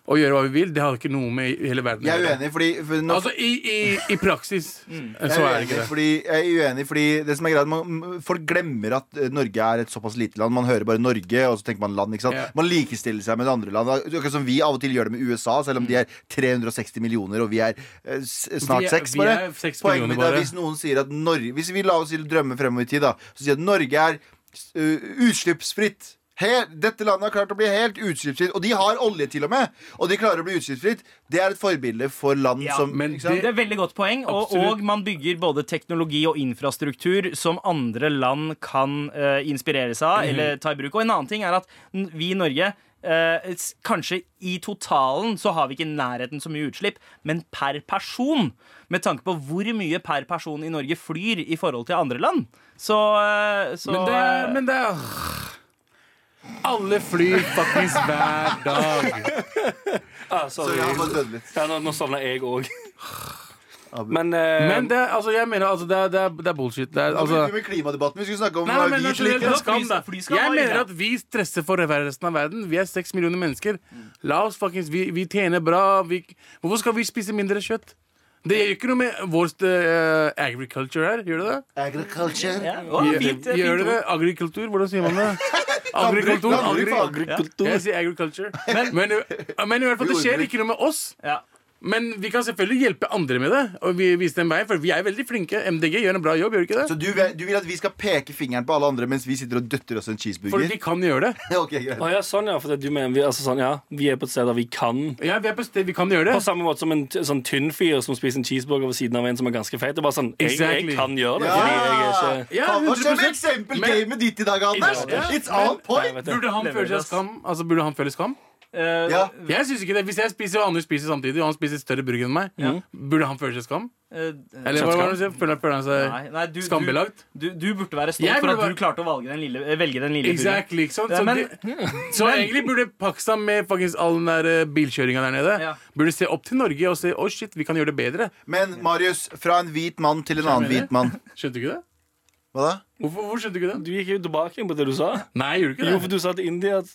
S5: og gjøre hva vi vil. Det har ikke noe med hele verden å
S3: Jeg er
S5: gjøre.
S3: uenig, fordi for nå,
S5: Altså, i, i, i praksis
S3: jeg, er
S5: så er det
S3: uenig,
S5: ikke det.
S3: fordi, jeg er uenig, fordi det som er greit, man, m- folk glemmer at eh, Norge er et såpass lite land. Man hører bare Norge, og så tenker man land. ikke sant?
S5: Ja.
S3: Man likestiller seg med andre land. Akkurat som vi av og til gjør det med USA, selv om de er 360 millioner, og vi er eh, s-
S5: Mm. Vi
S3: snart
S5: er-
S3: seks,
S5: vi
S3: bare.
S5: er seks
S3: Poenget
S5: millioner
S3: mitt er
S5: bare.
S3: hvis noen sier at Norge Hvis vi la oss drømme fremover i tid, da, så sier at Norge er eh, utslippsfritt. Helt, dette landet har klart å bli helt utslippsfritt. Og de har olje, til og med! Og de klarer å bli utslippsfritt. Det er et forbilde for land
S2: Ja,
S3: som
S5: men
S3: ikke sant?
S2: Det er veldig godt poeng, og,
S5: Absolutt.
S2: og man bygger både teknologi og infrastruktur som andre land kan eh, inspirere seg av
S5: Mhm.
S2: eller ta i bruk. Og en annen ting er at n- vi i Norge eh, s- Kanskje i totalen så har vi ikke i nærheten så mye utslipp, men per person, med tanke på hvor mye per person i Norge flyr i forhold til andre land, så, eh, så
S5: Men det, er- men det er Alle flyr faktisk hver dag.
S4: Ah,
S3: Så
S4: sorry.
S3: jeg har bare dødd litt.
S4: Ja, nå, nå sovna jeg òg.
S3: Abu.
S4: Men, eh,
S5: Men det, er- altså, jeg mener altså, det, er, det, er, det er bullshit. Det er,
S3: Da
S5: altså,
S3: begynte vi med klimadebatten. Vi skulle snakke om
S5: Nei,
S3: hva
S5: nei, men
S3: vi
S5: det er
S3: slikker.
S5: en skam, da.
S2: Flyskam
S5: Jeg
S2: var
S5: mener
S2: ille.
S5: at vi stresser for resten av verden. Vi er seks millioner mennesker. La oss fuckings, vi, vi tjener bra. Vi, hvorfor skal vi spise mindre kjøtt? Det gjør ikke noe med vår eh, agriculture her, gjør det det?
S3: Agriculture.
S2: eh, ja, å,
S5: Gjør-
S2: fint, fint
S5: gjør det
S2: ord.
S5: det? Agrikultur? Hvordan sier man det? Agrikultur?
S3: Landbruk,
S5: Agri
S3: landbruk,
S5: jeg sier agriculture. Men, men, i hvert fall, det skjer ikke noe med oss.
S2: Ja.
S5: Men vi kan selvfølgelig hjelpe andre med det. Og vi vise dem vei, for vi er veldig flinke. MDG gjør en bra jobb, gjør de ikke
S3: Så
S5: det?
S3: du, vil- du vil at vi skal peke fingeren på alle andre mens vi sitter og døtter oss en
S5: For
S3: cheeseburger?
S5: vi kan gjøre det.
S3: Ok, greit
S4: å ja, sånn, ja. For det, du mener vi, altså, sånn, ja, vi er på et sted der vi kan
S5: Ja, vi er på sted, vi kan gjøre det.
S4: På samme måte som en t sånn tynn fyr som spiser en cheeseburger ved siden av en som er ganske feit. Det er bare sånn, jeg,
S5: Exactly.
S4: jeg kan gjøre det. Fordi jeg er
S3: Ja!
S4: ikke
S5: Ja,
S3: Faen, Hva skjer med
S5: 100%.
S3: eksempelgamet ditt i dag, Anders?
S5: Ja.
S3: It's on
S4: Nei,
S3: point!
S4: vet du.
S5: Burde han føle seg skam? Altså, burde han føle skam?
S2: Eh,
S3: Ja.
S5: Jeg synes ikke det. Hvis jeg spiser og Anders spiser samtidig, og han spiser større burger enn meg, burde han føle seg skam?
S2: eh,
S5: Eller hva var det du sier? Føler, føler han seg
S2: Nei, nei, du,
S5: skambelagt?
S2: Du, du, du burde være
S5: Jeg
S2: stolt for
S5: burde
S2: at
S5: være-
S2: du klarte å valge den lille, eh, velge den lille buren.
S5: Exactly, ikke sant?
S2: Ja,
S5: Så,
S2: men-
S5: det, så egentlig burde Pakistan med faktisk all den der eh, bilkjøringen der nede
S2: Ja.
S5: Burde se opp til Norge og se å shit, vi kan gjøre det bedre.
S3: Men Marius, fra en hvit mann til en annen hvit mann.
S5: Skjønte du ikke det?
S3: Hva da?
S5: Hvorfor, hvor skjønte du ikke det?
S4: Du gikk jo tilbake igjen på det du sa.
S5: Nei, gjorde du ikke det?
S4: Jo, for du sa til India at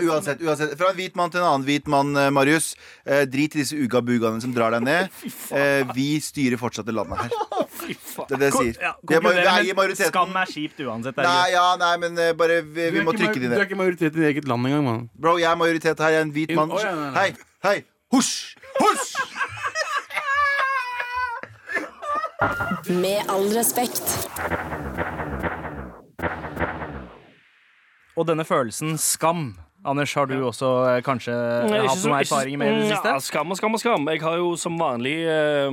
S3: Uansett, uansett. Fra en hvit mann til en annen hvit mann, eh, Marius. Eh, drit i disse ugabugaene som drar deg ned. Eh, vi styrer fortsatt det landet her. Det er det jeg
S2: Ko-
S3: sier.
S2: ja,
S3: Vi er, ma- vi
S2: konkluderer
S3: er i
S2: med
S3: majoriteten.
S2: Skam er kjipt uansett. det er
S3: Nei,
S2: greit.
S3: ja, nei, men eh, bare vi,
S5: Du
S3: vi
S5: er
S3: må
S5: ikke
S3: trykke
S5: major-
S3: de
S5: Du
S3: ned.
S5: er ikke majoritet i ditt eget land engang, mann.
S3: Bro, jeg er majoritet her. Jeg er en hvit
S5: In-
S3: mann.
S5: Å, ja, nei, nei.
S3: Hei, hei. Husj! Husj!
S6: Med all respekt.
S2: Og denne følelsen skam. Anders, har du også eh, kanskje hatt noen erfaringer med i det
S4: Ja, altså,
S2: siste?
S4: skam og skam og skam. Jeg har jo som vanlig eh,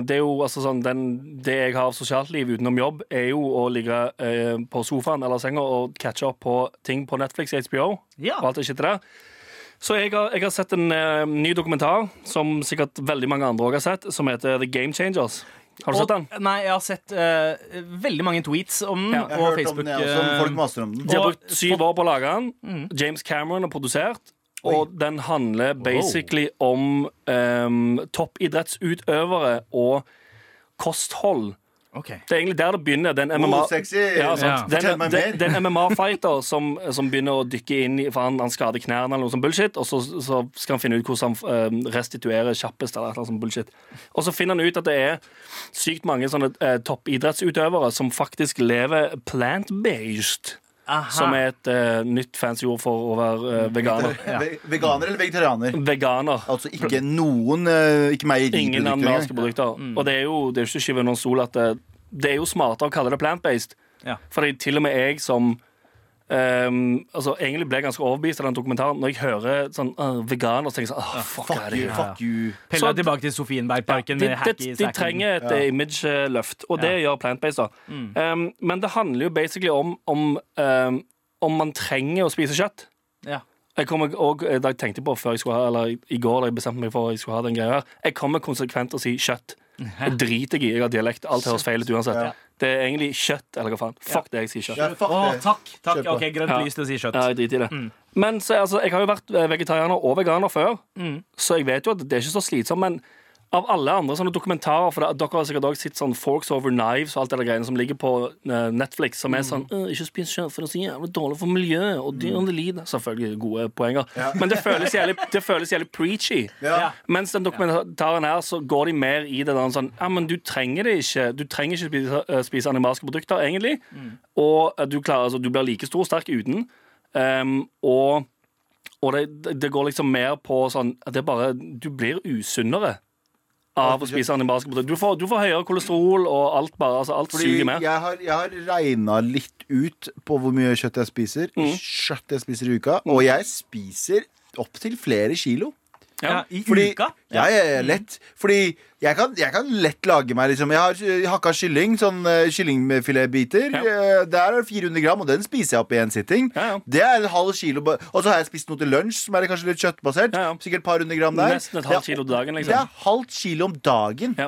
S4: Det er jo altså sånn den, Det jeg har av sosialt liv utenom jobb, er jo å ligge eh, på sofaen eller senga og catche opp på ting på Netflix, HBO
S2: Ja.
S4: og alt det shitet der. Så jeg har, jeg har sett en eh, ny dokumentar som sikkert veldig mange andre òg har sett, som heter The Game Changers. Har du sett den?
S2: Og, nei, jeg har sett eh, veldig mange tweets om den,
S4: Ja.
S3: Jeg
S2: og
S3: har hørt om
S2: Facebook.
S3: den, jeg også.
S2: eh,
S3: Folk maser om den.
S4: De har
S2: Og-
S4: brukt syv år på å lage den. James Cameron har produsert. Og den handler basically om em, toppidrettsutøvere og kosthold.
S2: ok.
S4: Det er egentlig der det begynner. Den MMA,
S3: Oh, sexy.
S4: Ja, sant.
S2: Ja.
S3: Fortell
S4: Den,
S3: meg
S4: den,
S3: mer.
S4: den MMA-fighter som, som begynner å dykke inn i For han, han skader knærne eller noe sånt bullshit, og så, så skal han finne ut hvordan han em, restituerer kjappest eller noe sånt bullshit. Og så finner han ut at det er sykt mange sånne eh, toppidrettsutøvere som faktisk lever plant-based.
S2: Aha.
S4: Som er et eh, nytt fancy ord for å være eh, veganer.
S3: Ve- Veganer eller vegetarianer?
S4: Veganer.
S3: Altså ikke noen eh, Ikke
S4: Ingen
S3: meieriprodukter
S4: animalske
S3: engang.
S4: produkter.
S2: Mm.
S4: Og det er jo det er jo ikke skyve noen sol at det, det er jo smartere å kalle det plant-based.
S2: Ja.
S4: Fordi til og med jeg som ehm, altså Egentlig ble jeg ganske overbevist av den dokumentaren. Når jeg hører sånn uh, veganer, så tenker jeg sånn «Åh, fuck,
S3: Fuck
S4: er det
S3: you,
S4: her?»
S3: fuck you.
S2: Pelle
S4: Så
S2: er tilbake til Sofienbergparken.
S4: de,
S2: med
S4: de,
S2: hacky
S4: de
S2: sacken.
S4: trenger et eh, image-løft, og det gjør plant-based. da
S2: Mm.
S4: um, Men det handler jo basically om om, um, om man trenger å spise kjøtt.
S2: Ja.
S4: Jeg kommer og, da jeg tenkte på før jeg skulle ha, eller i går da jeg bestemte meg for at jeg skulle ha den greia her Jeg kommer konsekvent til å si kjøtt. Det driter jeg i. Jeg har dialekt. Alt høres feil ut uansett.
S3: Ja.
S4: Det er egentlig kjøtt, eller hva faen. Fuck det, jeg sier kjøtt.
S3: Ja, fuck
S2: Å,
S3: det.
S2: takk! takk.
S3: Kjør på.
S2: Ok, Grønt
S4: Ja.
S2: lys til å si kjøtt. Mm.
S4: Ja, jeg driter i det. Men så, altså, jeg har jo vært eh, vegetarianer og veganer før,
S2: Mm.
S4: så jeg vet jo at det er ikke så slitsomt. Men av alle andre sånne dokumentarer, for det, dere har sikkert også sett sånn Forks over knives og alt det der greiene som ligger på eh, Netflix, som er
S2: Mm.
S4: sånn «Øh, Ikke spis kjøtt, for det er så jævlig dårlig for miljøet, og dyrene lider. Selvfølgelig gode poenger. Men det føles jævlig, det føles jævlig preachy.
S2: Ja.
S4: Mens den dokumentaren her så går de mer i det der sånn Ja, men du trenger det ikke. Du trenger ikke spise, eh, spise animalske produkter, egentlig.
S2: Mm.
S4: Og eh, du, klarer, altså, du blir like stor og sterk uten. Ehm, og og det, det går liksom mer på sånn at det er bare Du blir usunnere av å spise animalske produkter. Du får, du får høyere kolesterol og alt bare. Altså, alt
S3: Fordi
S4: suger med.
S3: jeg har, jeg har regna litt ut på hvor mye kjøtt jeg spiser.
S4: Mm.
S3: Kjøtt jeg spiser i uka. Og jeg spiser opptil flere kilo.
S2: Ja, I
S3: Fordi,
S2: uka?
S3: Ja, ja, ja, lett. Fordi jeg kan, jeg kan lett lage meg liksom. Jeg har eh, hakka kylling, sånn eh, kyllingfiletbiter. Eh, Der er det 400 gram, og den spiser jeg opp i én sitting.
S4: Ja, ja.
S3: Det er en halv kilo. ba- Og så har jeg spist noe til lunsj som er kanskje litt kjøttbasert.
S4: Ja, ja.
S3: Sikkert et par hundre gram der.
S4: Nesten et halvt kilo til dagen,
S3: Det er
S4: liksom.
S3: halvt kilo om dagen.
S4: Ja.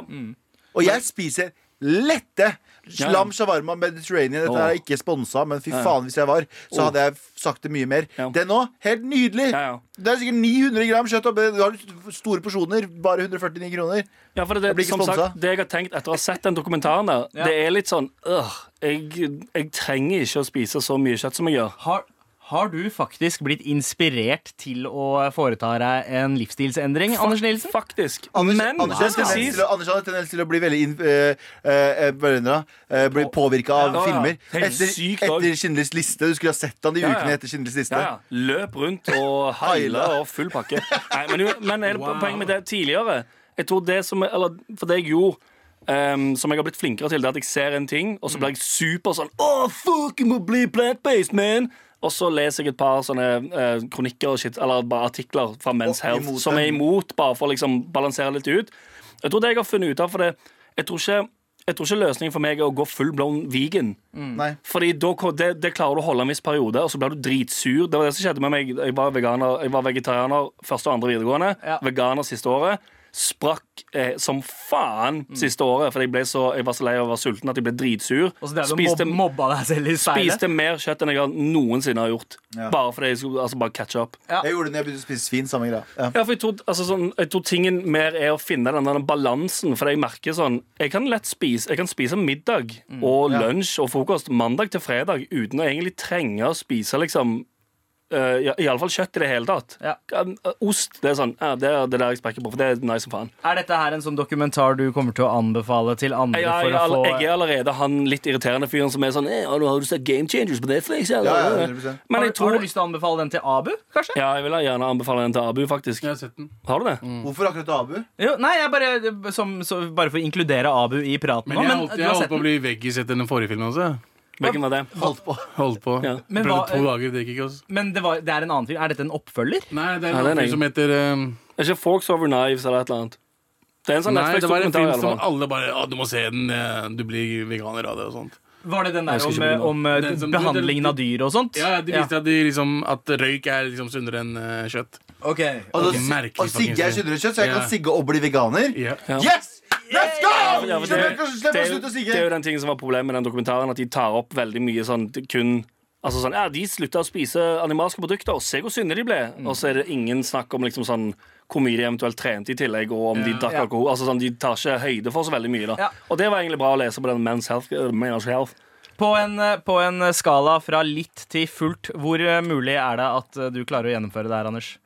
S3: Og jeg spiser lette
S4: Ja.
S3: Lam shawarma Mediterranean. Dette
S4: Åh.
S3: er ikke sponsa, men fy faen, hvis jeg var, så hadde jeg sagt det mye mer.
S4: Ja.
S3: Det nå, helt nydelig!
S4: Ja, ja.
S3: Det er sikkert 900 gram kjøtt, og du har store porsjoner. Bare 149 kroner.
S4: Ja, for det,
S3: Jeg blir
S4: det,
S3: ikke
S4: som sagt,
S3: sponset.
S4: det jeg har tenkt etter å ha sett den dokumentaren der, det er litt sånn øh, jeg, jeg trenger ikke å spise så mye kjøtt som jeg gjør.
S7: Har, har du faktisk blitt inspirert til å foreta deg en livsstilsendring, Anders Nilsen?
S4: Faktisk.
S3: Anders,
S4: Men
S3: Anders,
S4: det
S3: har
S4: skal
S3: tendens
S4: sies
S3: til å- Anders hadde tendens til å bli veldig inn- eh, eh, eh, hva er det nå? Eh, Bli påvirka av
S4: Ja, ja.
S3: filmer.
S4: Helt
S3: Etter,
S4: sykt også.
S3: etter Schindlers liste. Du skulle ha sett han de
S4: Ja, ja.
S3: ukene etter Schindlers liste.
S4: ja, ja. Løp rundt og heile og full pakke. Nei, men, jo- men er det
S5: Wow.
S4: poenget med det tidligere Jeg tror det som Eller for det jeg gjorde ehm, som jeg har blitt flinkere til, Det er at jeg ser en ting, og så blir jeg super sånn Åh, fuck, jeg må bli plant-based, man! Og så leser jeg et par sånne eh, kronikker og shit, eller bare artikler fra
S3: Og
S4: Men's Health
S3: imot
S4: som er
S3: dem.
S4: imot, bare for å liksom balansere litt ut. Jeg tror det jeg har funnet ut av, for det Jeg tror ikke, jeg tror ikke løsningen for meg er å gå full blown vegan.
S3: Nei.
S4: Fordi da, ko- det, det klarer du å holde en viss periode, og så blir du dritsur. Det var det som skjedde med meg. Jeg var, veganer, jeg var vegetarianer første og andre videregående.
S7: Ja.
S4: Veganer siste året. Sprakk eh, som faen
S7: Mm.
S4: siste året, for jeg, ble så, jeg var så lei av å være sulten at jeg ble dritsur.
S7: Og så det er du mob mobba deg selv i speilet.
S4: spiste mer kjøtt enn jeg har- noensinne har gjort.
S3: Ja.
S4: Bare fordi jeg skulle altså bare catch up.
S7: Ja.
S3: Jeg gjorde det når jeg begynte å spise svin. Samme greia. Ja.
S4: Ja, for jeg tror, altså, sånn, jeg tror tingen mer er å finne den der balansen. For jeg merker sånn Jeg kan lett spise Jeg kan spise middag
S7: Mm,
S4: og lunsj og frokost mandag til fredag uten å egentlig trenge å spise liksom uh, Iallfall kjøtt i det hele tatt.
S7: Ja.
S4: Um, uh, Ost det er sånn ja, det, er, det er der jeg sprekker på, for det er nice som faen.
S7: Er dette her en sånn dokumentar du kommer til å anbefale til andre
S4: Jeg, jeg,
S7: for å
S4: jeg,
S7: få
S4: jeg er allerede han litt irriterende fyren som er sånn eh, har, du, 'Har du sett Game Changers på Netflix?' eller?»
S3: Ja, ja, 100%.
S4: Men
S7: har,
S4: jeg
S7: du- har
S4: tror
S7: du lyst til å anbefale den til Abu, kanskje?
S4: Ja, jeg vil gjerne anbefale den til Abu, faktisk.
S5: Jeg har sett den.
S4: Har du det?
S7: Mm.
S3: Hvorfor akkurat Abu?
S7: Jo, nei, jeg bare, som, så, bare for å inkludere Abu i praten.
S5: Men
S7: nå,
S5: jeg
S7: men
S5: holdt,
S7: du
S5: jeg
S7: har
S5: holdt
S7: sett
S5: på å
S7: den.
S5: bli veggis etter den forrige filmen også.
S4: Hvilken var det?
S3: Holdt på.
S5: Holdt på.
S4: Ja.
S7: Men
S5: Prøvde
S7: hva-
S5: to dager, det gikk ikke. Altså.
S7: Men det, var, det er en annen film. Er dette en oppfølger?
S5: Nei, det er
S4: Ja,
S5: en
S4: det er
S5: annen
S4: en
S5: film som heter eh,
S4: Er ikke Forks Over Knives eller et eller annet? Det er en sånn
S5: Nei, det var
S4: Netflix-dokumentar.
S5: en
S4: i
S5: film
S4: alle
S5: som
S4: fall.
S5: alle bare Å, du må se den. eh, Du blir veganer av det og sånt.
S7: Var det den der
S4: Jeg
S7: om,
S4: husker ikke
S7: om eh,
S5: Den som-
S7: behandlingen av dyr og sånt?
S5: Ja, ja, De viste at, de, liksom, at røyk er liksom sunnere enn eh, kjøtt.
S7: Ok.
S3: Og,
S5: Ok,
S3: da,
S5: merkelig
S3: og Sigge er
S5: fucking sted.
S3: sunnere kjøtt, så jeg
S5: Ja.
S3: kan sigge og bli veganer.
S5: Ja.
S3: Yes! Let's go!
S4: Ja, for
S3: Så jeg
S4: det,
S3: kan
S4: det,
S3: slippe å
S4: er jo-
S3: slutte å
S4: det er jo
S3: sigge.
S4: den tingen som var problemet med den dokumentaren, at de tar opp veldig mye sånn kun Altså sånn, ja, De slutta å spise animalske produkter, og se hvor synde de ble.
S5: Mm.
S4: Og så er det ingen snakk om liksom sånn hvor mye de eventuelt trente i tillegg, og om de drakk
S7: Ja.
S4: alkohol. Altså sånn, De tar ikke høyde for så veldig mye. da
S7: Ja.
S4: Og det var egentlig bra å lese på den Men's Health. eh, Men's Health.
S7: På en, eh, på en skala fra litt til fullt, hvor eh, mulig er det at eh, du klarer å gjennomføre det her, Anders?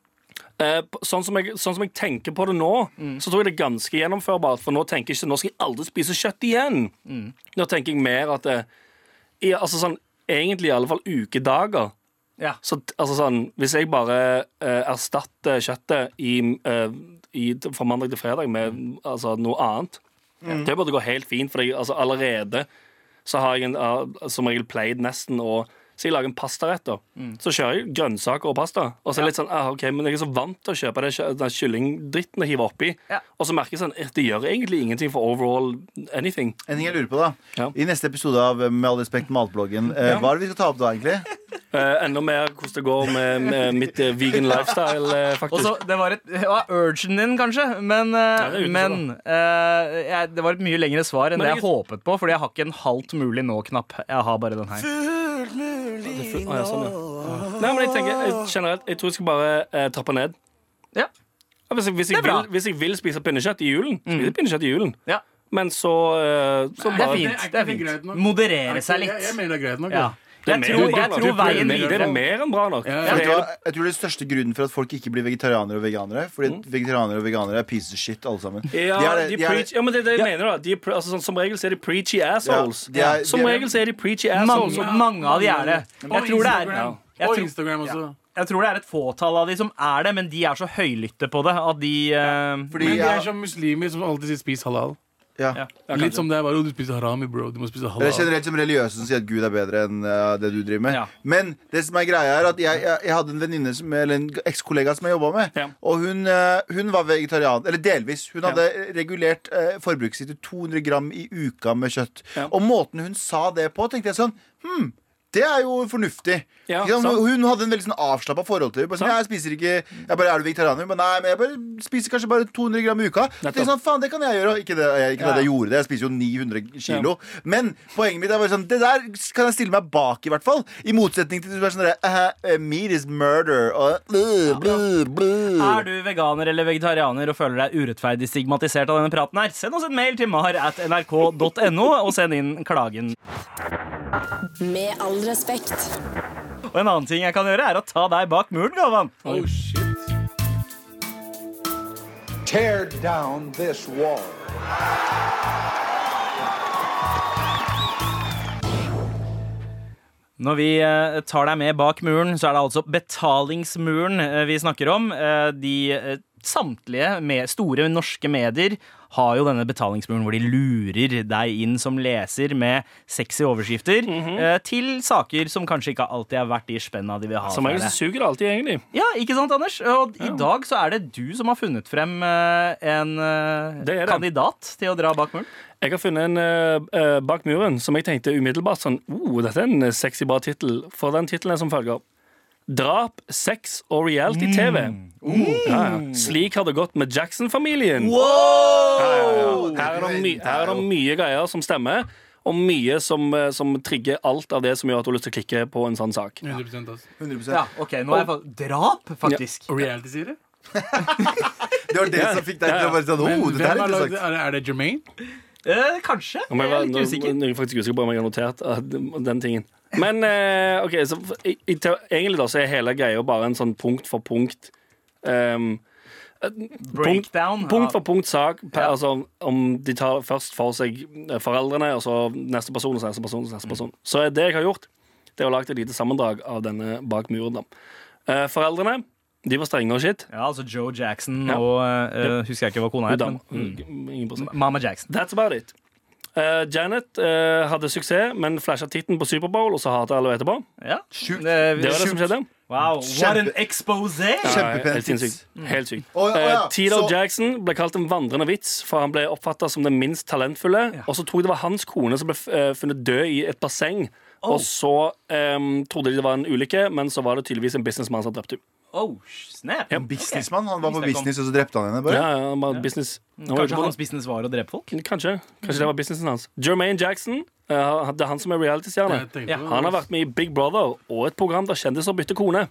S4: Eh, p- sånn, som jeg, sånn som jeg tenker på det nå, så tror jeg det er ganske gjennomførbart. For nå tenker jeg ikke nå skal jeg aldri spise kjøtt igjen. Nå tenker jeg mer at eh, i, altså sånn, Egentlig i alle fall ukedager.
S7: Ja.
S4: Så, t- altså sånn, hvis jeg bare eh, erstatter kjøttet i, eh, i, fra mandag til fredag med altså, noe annet
S7: Mm.
S4: Det burde gå helt fint, for jeg, altså, allerede så har jeg en, eh, som regel played nesten å så jeg lager en pastarett, da.
S7: Mm.
S4: Så kjører jeg grønnsaker og pasta. Og så er det litt sånn, ah, ok, men jeg er så vant til å kjøpe det, kjø- den kyllingdritten jeg hiver oppi.
S7: Ja.
S4: Og så merker jeg sånn, eh, det gjør egentlig ingenting for overall anything.
S3: En ting jeg lurer på da
S4: Ja.
S3: I neste episode av eh, Med all respekt matbloggen, eh, hva er det vi skal ta opp da, egentlig?
S4: Eh, enda mer hvordan det går med, med mitt eh, vegan lifestyle, eh,
S7: Og
S4: faktisk.
S7: så, det var et det var urgen din, kanskje, men, eh,
S4: det er utenfor,
S7: men eh, jeg, det var et mye lengre svar enn
S4: Men
S7: det
S4: jeg-
S7: jeg håpet på, fordi jeg har ikke en halvt mulig nå-knapp. Jeg har bare den her.
S4: Det er full- ah, ja, sånn, ja. Nei, men jeg tenker jeg, generelt Jeg tror jeg skal bare eh, trappe ned.
S7: Ja.
S4: Ja, Hvis jeg, hvis,
S7: Det
S4: jeg
S7: er bra. Mm.
S4: vil, hvis jeg vil spise pinnekjøtt i julen, spiser jeg pinnekjøtt i julen.
S7: Ja.
S4: Men så, eh, så
S7: Det
S4: bare,
S7: er
S5: det
S7: fint.
S5: er
S7: det er
S5: ikke greit
S7: fint.
S5: nok.
S7: Moderere seg
S5: Jeg, jeg
S7: litt.
S5: mener det er greit nok.
S7: Ja.
S5: jeg.
S4: Det
S7: Jeg
S4: er mer
S7: tror,
S4: enn bra
S7: jeg
S4: nok.
S7: tror
S5: Du
S7: veien
S5: prøver.
S4: Det
S7: videre
S4: er mer enn bra nok.
S5: Ja,
S3: Vet
S4: For
S5: ja.
S4: det
S3: du hva?
S4: er-
S3: Jeg tror det er største grunnen for at folk ikke blir vegetarianere og veganere. Fordi vegetarianere og veganere er pieces of shit, alle sammen.
S4: Mm. Ja,
S3: er-
S4: de
S3: er-
S4: preach, ja, men det er det jeg mener, da. De, er pre- altså, sånn, som regel så er de preachy assholes.
S3: Ja, de er-
S4: som
S3: de er-
S4: regel så er de preachy assholes.
S7: mange, mange av de er det. Jeg tror det er
S5: Instagram.
S7: jeg
S5: Og
S7: tror-
S5: Instagram også.
S2: jeg tror det er et fåtall av de som er det, men de er så høylytte på det at de eh,
S3: Fordi
S5: Men de er
S3: jeg,
S5: som muslimer som alltid sier 'spis halal'.
S4: sånn-
S3: ja.
S2: ja.
S5: Litt som det er bare, «Å, du spiser harami, bro. Du må spise
S3: Eller
S5: halal.
S3: generelt som religiøse som sier at Gud er bedre enn eh, det du driver med.
S2: Ja.
S3: Men det som er greia er at jeg, jeg, jeg hadde en venninne som- eller en ekskollega som jeg jobba med.
S4: Ja.
S3: Og hun, eh, hun var vegetarian. Eller delvis. Hun hadde regulert eh, forbruket sitt til 200 gram i uka med kjøtt.
S4: Ja.
S3: Og måten hun sa det på, tenkte jeg sånn Hm, det er jo fornuftig.
S4: Ja,
S3: Ikke sant?
S4: sant.
S3: hun hadde en veldig sånn avslappa forhold til det. Bare sånn, jeg spiser ikke jeg bare, Er du vegetarianer? Hun bare, Nei, men jeg bare spiser kanskje bare 200 gram i uka. Så tenkte jeg sånn, faen, det kan jeg gjøre. Ikke det, jeg, ikke det at jeg gjorde det. Jeg spiser jo 900 kilo. Men poenget mitt er bare sånn Det der kan jeg stille meg bak, i hvert fall. I motsetning til du er sånn derre eh, eh, Meat is murder. Og, blø, blø, blø.
S2: Er du veganer eller vegetarianer og føler deg urettferdig stigmatisert av denne praten her, send oss en mail til mar at nrk.no og send inn klagen.
S6: Med all respekt.
S2: Og en annen ting jeg kan gjøre, er å ta deg bak muren, Galvan.
S5: Oh, shit.
S8: Tear down this wall.
S2: Når vi eh, tar deg med bak muren, så er det altså betalingsmuren eh, vi snakker om. Eh, De eh, samtlige med store norske medier har jo denne betalingsmuren hvor de lurer deg inn som leser med sexy overskrifter eh, til saker som kanskje ikke alltid er verdt de spenna de vil ha.
S4: Som
S2: fra
S4: regel
S2: deg.
S4: så suger det alltid, egentlig.
S2: Ja, ikke sant, Anders? Og i dag så er det du som har funnet frem eh, en eh,
S4: Det er det.
S2: kandidat til å dra bak muren.
S4: Jeg har funnet en eh, eh, bak muren som jeg tenkte umiddelbart sånn oh, dette er en eh, sexy bra tittel. For den tittelen er som følger. Drap, sex og reality-TV. Ja, ja. Slik har det gått med Jackson-familien. Ja, ja, ja. Her, er det my- her er det mye greier som stemmer, og mye som, eh, som trigger alt av det som gjør at du har lyst til å klikke på en sånn sak.
S5: 100 ass.
S3: 100
S2: Ja, ok, nå er jeg fa- Drap, faktisk.
S5: Og reality sier det?
S3: Det var det som fikk deg til å bare sånn
S5: Men
S3: oh, det
S5: hvem
S3: der er
S5: har lagd det?
S3: interessant.
S5: Er det- er det Jermaine?
S2: Eh, kanskje.
S4: Nå må
S2: Jeg
S4: jeg, være-
S2: er litt
S4: nå,
S2: usikker.
S4: nå er jeg faktisk usikker på om jeg har notert eh, den- den tingen. Men eh, ok, så f- i, i, te- egentlig da så er hele greia bare en sånn punkt for punkt. ehm,
S2: Breakdown. Ja.
S4: Punkt for punkt sak. Per, altså, om de tar først for seg eh, foreldrene, og så neste person, og så neste person, og så neste person. Så er det jeg har gjort, det er å lage et lite sammendrag av denne bak muren. da. Eh, foreldrene de var strenge og shit.
S2: Ja, altså Joe Jackson
S4: Ja.
S2: og eh, Husker jeg ikke hva kona
S4: Hun Mm.
S2: het, men
S4: dama. Hun- Ingen prosent.
S2: Mama Jackson.
S4: That's about it. Eh, Janet eh, hadde suksess, men flasha titten på Superbowl, og så hater alle henne etterpå.
S2: Ja.
S3: Sjukt.
S2: Det-
S4: Det var det som skjedde.
S2: Wow, what an
S3: Kjempe-
S2: exposé!
S3: Kjempepen
S4: Helt
S3: tids.
S4: sinnssykt. Helt sykt.
S3: Å, å, ja.
S4: Eh, Tito
S3: Så-
S4: Jackson ble kalt en vandrende vits, for han ble oppfatta som den minst talentfulle. Og så tror jeg det var hans kone som ble eh, funnet død i et basseng. Og så em, trodde de det var en ulykke, men så var det tydeligvis en businessmann som drepte henne.
S2: Oh, snap.
S4: Ja.
S3: Businessmann. Han var på
S2: Snakk om-
S3: business, og så drepte han henne.
S4: Ja,
S3: bare
S4: ja, Mm. han var business. Han var
S2: Kanskje hans business var å drepe folk?
S4: Kanskje. Kanskje det var businessen hans. Jermaine Jackson, eh, det er han som er reality-stjerne.
S5: Jeg tenkte
S2: Ja.
S5: på-
S4: Han har vært med i Big Brother og et program der kjendiser bytter kone.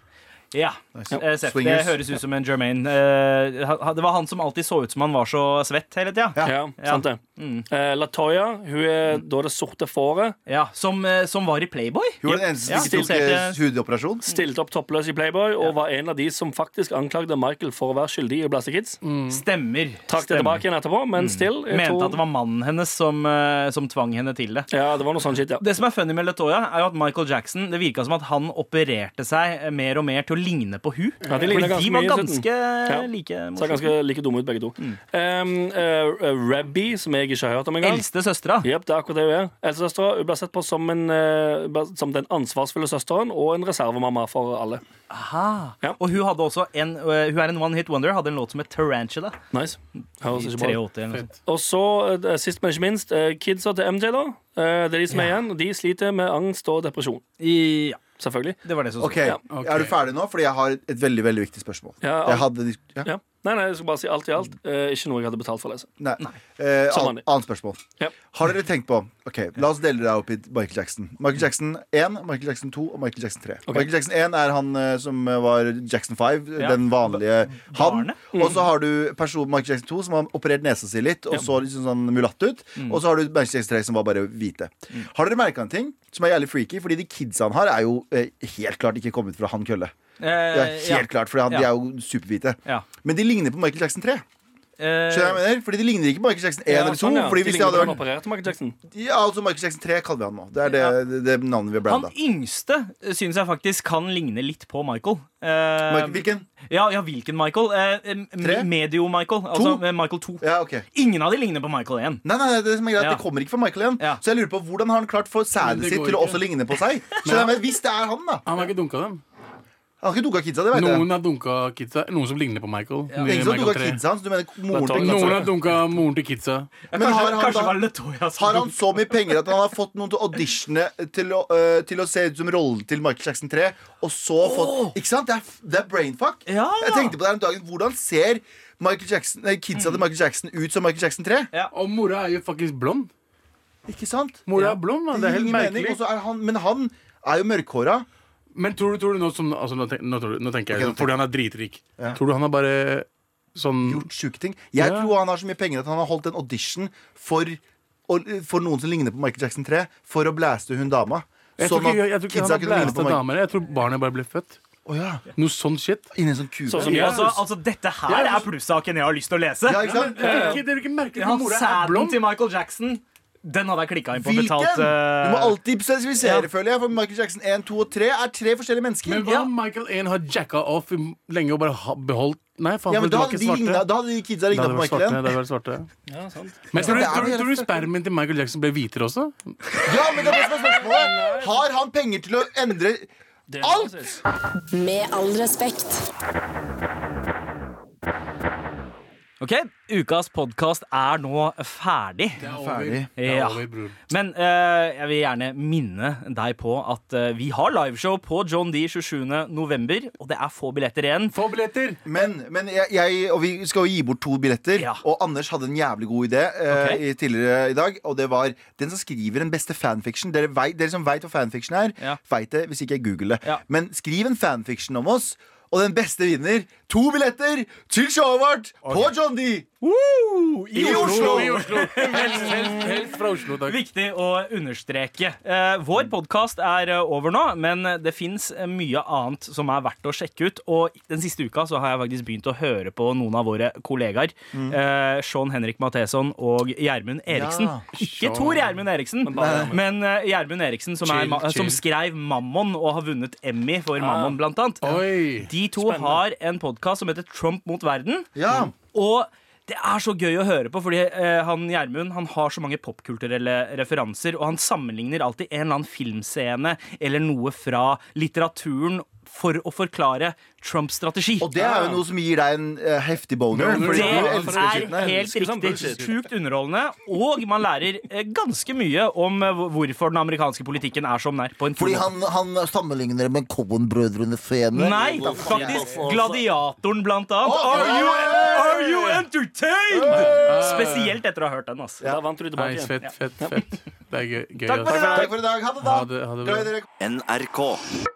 S2: Ja. Eh, Seff, det
S3: Swingers.
S2: høres ut som en Jermaine. Eh, ha- det var han som alltid så ut som han var så svett hele tida.
S3: Ja.
S4: Ja, sant det. Eh, Latoya, hun er da det sorte fåret.
S2: Ja, som, eh, som var i Playboy.
S3: Hun var den eneste
S2: Ja,
S3: som ikke tok eh,
S2: stiliserte-
S3: hudoperasjon.
S4: Stilte opp toppløs i Playboy og var en av de som faktisk anklagde Michael for å være skyldig i Blaster Kids.
S3: Mm.
S2: Stemmer.
S4: Trakk det
S2: Mm, Stemmer. Mm.
S4: tilbake igjen etterpå, men still. jeg
S2: Mente
S4: tror-
S2: at det var mannen hennes som, eh, som tvang henne til det.
S4: Ja, det var noe sånn shit, ja.
S2: Det som er funny med Latoya, er jo at Michael Jackson Det virka som at han opererte seg mer og mer til å ligne på hun
S4: Ja, de
S2: Fordi
S4: ligner
S2: de
S4: ganske
S2: var
S4: mye i slutten.
S2: ganske
S4: Ja.
S2: like.
S4: Ser
S2: morsomme.
S4: ganske like dumme ut, begge to.
S2: Mm.
S4: Um, eh, Rebby, som jeg ikke har hørt om engang.
S2: Eldste søstera.
S4: Jep, det er akkurat det hun er. Eldstesøstera hun blir sett på som, en, eh, ble- som den ansvarsfulle søsteren og en reservemamma for alle.
S2: Og hun hadde også en eh, Hun er en one hit wonder. Hadde en låt som het Tarantula.
S4: Nice. Høres
S2: I
S4: ikke bra ut.
S2: 83 eller noe sånt.
S4: Og så, eh, sist men ikke minst, eh, kidsa til MJ, da. Eh, Det er de som er igjen. og De sliter med angst og depresjon.
S2: I- Ja,
S4: Selvfølgelig.
S2: det var det som
S3: Ok,
S4: Ja,
S5: ok.
S3: Er du ferdig nå? Fordi jeg har et, et veldig veldig viktig spørsmål.
S4: Ja,
S3: jeg
S4: alt-
S3: hadde, dis- ja,
S4: Ja. Nei, nei, jeg skal bare si alt i alt.
S3: Mm.
S4: Eh, ikke noe jeg hadde betalt for å lese.
S3: nei. Eh,
S4: Som
S3: ann-
S4: vanlig.
S3: annet spørsmål.
S4: Ja.
S3: Har dere tenkt på Ok, La oss dele deg opp i Michael Jackson. Michael Jackson 1, Michael Jackson 2 og Michael Jackson 3. Michael Jackson 1 er han eh, som var Jackson 5,
S2: Ja.
S3: den vanlige han.
S2: Barnet.
S3: Og så har du person, Michael Jackson 2 som har operert nesa si litt og så liksom sånn mulatt ut.
S2: Mm.
S3: Og så har du Michael Jackson 3 som var bare hvite. Har dere merka en ting som er jævlig freaky? Fordi de kidsa han har, er jo eh, helt klart ikke kommet fra han kølle.
S2: Eh,
S3: Ja, helt
S2: ja.
S3: klart, for han, de
S2: Ja.
S3: er jo superhvite.
S2: Ja.
S3: Men de ligner på Michael Jackson 3.
S7: eh,
S3: Skjønner du hva jeg mener? Fordi de ligner ikke Michael Jackson 1
S4: Ja,
S3: eller 2.
S4: sånn, ja.
S3: Fordi
S4: De
S3: hvis
S4: ligner
S3: det
S4: på
S3: hadde
S4: den
S3: vært
S4: opererte Michael Jackson.
S3: Ja, altså Michael Jackson 3 kaller vi han nå. Det er det, det, det navnet vi har
S2: Han
S3: branda.
S2: yngste eh, syns jeg faktisk kan ligne litt på Michael. Eh,
S3: Michael- Hvilken?
S2: Ja, ja, hvilken Michael? Eh, eh,
S3: Tre?
S2: Medio-Michael. Altså eh, Michael 2.
S3: Ja, ok
S2: Ingen av de ligner på Michael 1.
S3: Nei, nei, nei, det som er greit,
S2: Ja.
S3: det kommer ikke fra Michael igjen.
S2: Ja.
S3: Så jeg lurer på hvordan har han klart for sædet
S5: Det
S3: sitt
S5: går
S3: til å
S5: ikke.
S3: også ligne på seg? Så jeg mener, hvis det er han, da.
S5: Han har ikke dunka dem.
S3: Han har ikke dunka kidsa, det vet jeg.
S5: Noen har dunka kidsa. Noen som ligner på Michael.
S3: Det er
S5: Nye
S3: ingen som
S5: Michael
S3: dunka
S5: 3.
S3: kidsa altså. hans. Du mener moren til
S4: Vet du hva,
S5: Noen
S3: kidsa.
S5: har dunka moren til kidsa.
S3: Men har han,
S2: Kanskje
S3: da,
S2: var det Letoya som
S3: har han så mye penger at han har fått noen til å auditione til å, øh, til å se ut som rollen til Michael Jackson 3, og så fått Ikke sant? Det er, det er brainfuck.
S2: Ja.
S3: Jeg tenkte på det her om dagen. Hvordan ser Michael Jackson, nei, kidsa
S5: Mm.
S3: til Michael Jackson ut som Michael Jackson 3?
S5: Og mora er jo faktisk blond.
S3: Ikke sant?
S5: Mora er blond, man. Det er helt
S3: Ingen mening, altså.
S5: merkelig.
S3: og så er han, men han er jo mørkhåra.
S5: Men tror du, tror du nå som altså, nå, tenk, nå, tror du, nå tenker
S3: Ok,
S5: jeg
S3: nå
S5: sånn, Fordi han er dritrik. Tror du han er bare sånn
S3: gjort sjuke ting. Jeg
S5: Ja.
S3: tror han har så mye penger at han har holdt en audition for, og, for noen som ligner på Michael Jackson 3, for å blæste hun dama.
S5: Jeg tror
S3: Sånn
S5: ikke,
S3: at
S5: jeg, jeg tror ikke han
S3: kidsa
S5: har
S3: kunne ligne
S5: blæsta
S3: på Michael.
S5: damer. Jeg tror barnet bare ble født.
S3: Å ja.
S5: Noe sånn shit.
S3: Inni en sånn kube.
S4: Sånn som
S5: Ja.
S2: altså, altså, dette her
S5: Ja,
S2: er plussaken jeg har lyst til å lese.
S3: ja, ikke sant?
S5: Det er ikke, det er ikke merkelig
S2: Ja,
S5: at mora er
S2: Sæden
S5: blond.
S2: til Michael Jackson, den hadde jeg klikka inn på.
S3: Hvilken?
S2: Betalt, eh,
S3: Du må alltid spesifisere,
S2: ja.
S3: føler jeg. For Michael Jackson 1, 2 og 3 er tre forskjellige mennesker.
S5: Men hva om Michael Ain har jacka off i lenge og bare ha- beholdt Nei, faen,
S3: Ja, men
S5: for det
S3: da
S5: var
S3: hadde
S5: ikke
S3: de,
S5: svarte.
S3: lignet, da hadde de kidsa
S5: Da
S3: ligna på
S5: hadde det vært
S3: Michael igjen.
S5: svarte. Da hadde det vært svarte.
S4: Ja, sant.
S5: Men tror du,
S3: det er
S5: tror,
S3: jo
S5: du,
S3: helt
S5: tror du
S3: fett.
S5: spermen til Michael Jackson ble hvitere også?
S3: Ja, men det er det som er spørsmålet. Har han penger til å endre
S4: Det-
S3: alt?
S6: Med all respekt.
S2: Ok, Ukas podkast er nå ferdig.
S3: Ferdig.
S2: Ja.
S5: over, bror.
S2: Men eh, jeg vil gjerne minne deg på at eh, vi har liveshow på John D 27. november, og det er få billetter igjen.
S5: Få billetter!
S3: Men, men jeg, jeg, og vi skal jo gi bort to billetter.
S2: Ja.
S3: Og Anders hadde en jævlig god idé eh,
S2: Ok.
S3: i, tidligere i dag. Og det var den som skriver den beste fanfiction. Dere, vei, dere som veit hva fanfiction er,
S2: Ja.
S3: veit det hvis ikke jeg googler det.
S2: Ja.
S3: Men skriv en fanfiction om oss. Og den beste vinner to billetter til showet vårt på John D! I, Oslo!
S5: I Oslo. Helst, helst, helst fra Oslo, takk.
S2: Viktig å understreke. Eh, vår podkast er eh, over nå, men det fins mye annet som er verdt å sjekke ut. Og den siste uka så har jeg faktisk begynt å høre på noen av våre kollegaer. Eh, Sean Henrik Matheson og Gjermund Eriksen.
S3: Ja,
S2: Ikke Tor Gjermund Eriksen, men eh, Gjermund Eriksen, som, er,
S5: Chill,
S2: ma- eh, som
S5: chill.
S2: skrev Mammon og har vunnet Emmy for Mammon, blant annet.
S5: Oi.
S2: De to har en podkast som heter Trump mot verden.
S3: Ja.
S2: Og det er så gøy å høre på, fordi eh, han Gjermund han har så mange popkulturelle referanser, og han sammenligner alltid en eller annen filmscene eller noe fra litteraturen for å forklare Trumps strategi.
S3: Og det er jo noe som gir deg en eh, heftig boner.
S5: Boner.
S3: fordi
S2: Det er
S3: du elsker den skitten her.
S2: helt
S4: Skummelt
S2: riktig.
S4: bullshit.
S2: Sjukt underholdende. Og man lærer eh, ganske mye om eh, hvor- hvorfor den amerikanske politikken er som den er. På en
S9: Fordi
S2: fin måte.
S9: han, han sammenligner med Cohen-brødrene Fene.
S2: Nei, faktisk. Gladiatoren, blant annet.
S3: Å,
S2: Are you,
S3: ja.
S2: are you entertained? Spesielt etter å ha hørt den. Altså.
S4: Da vant du tilbake
S5: Nice,
S4: igjen.
S5: fett, fett, fett. Det er gøy. gøy
S2: Takk for
S5: ass.
S2: det.
S3: Takk for i dag. Ha det, da.
S5: Ha det, ha det bra.
S3: Glad i dere.
S1: NRK.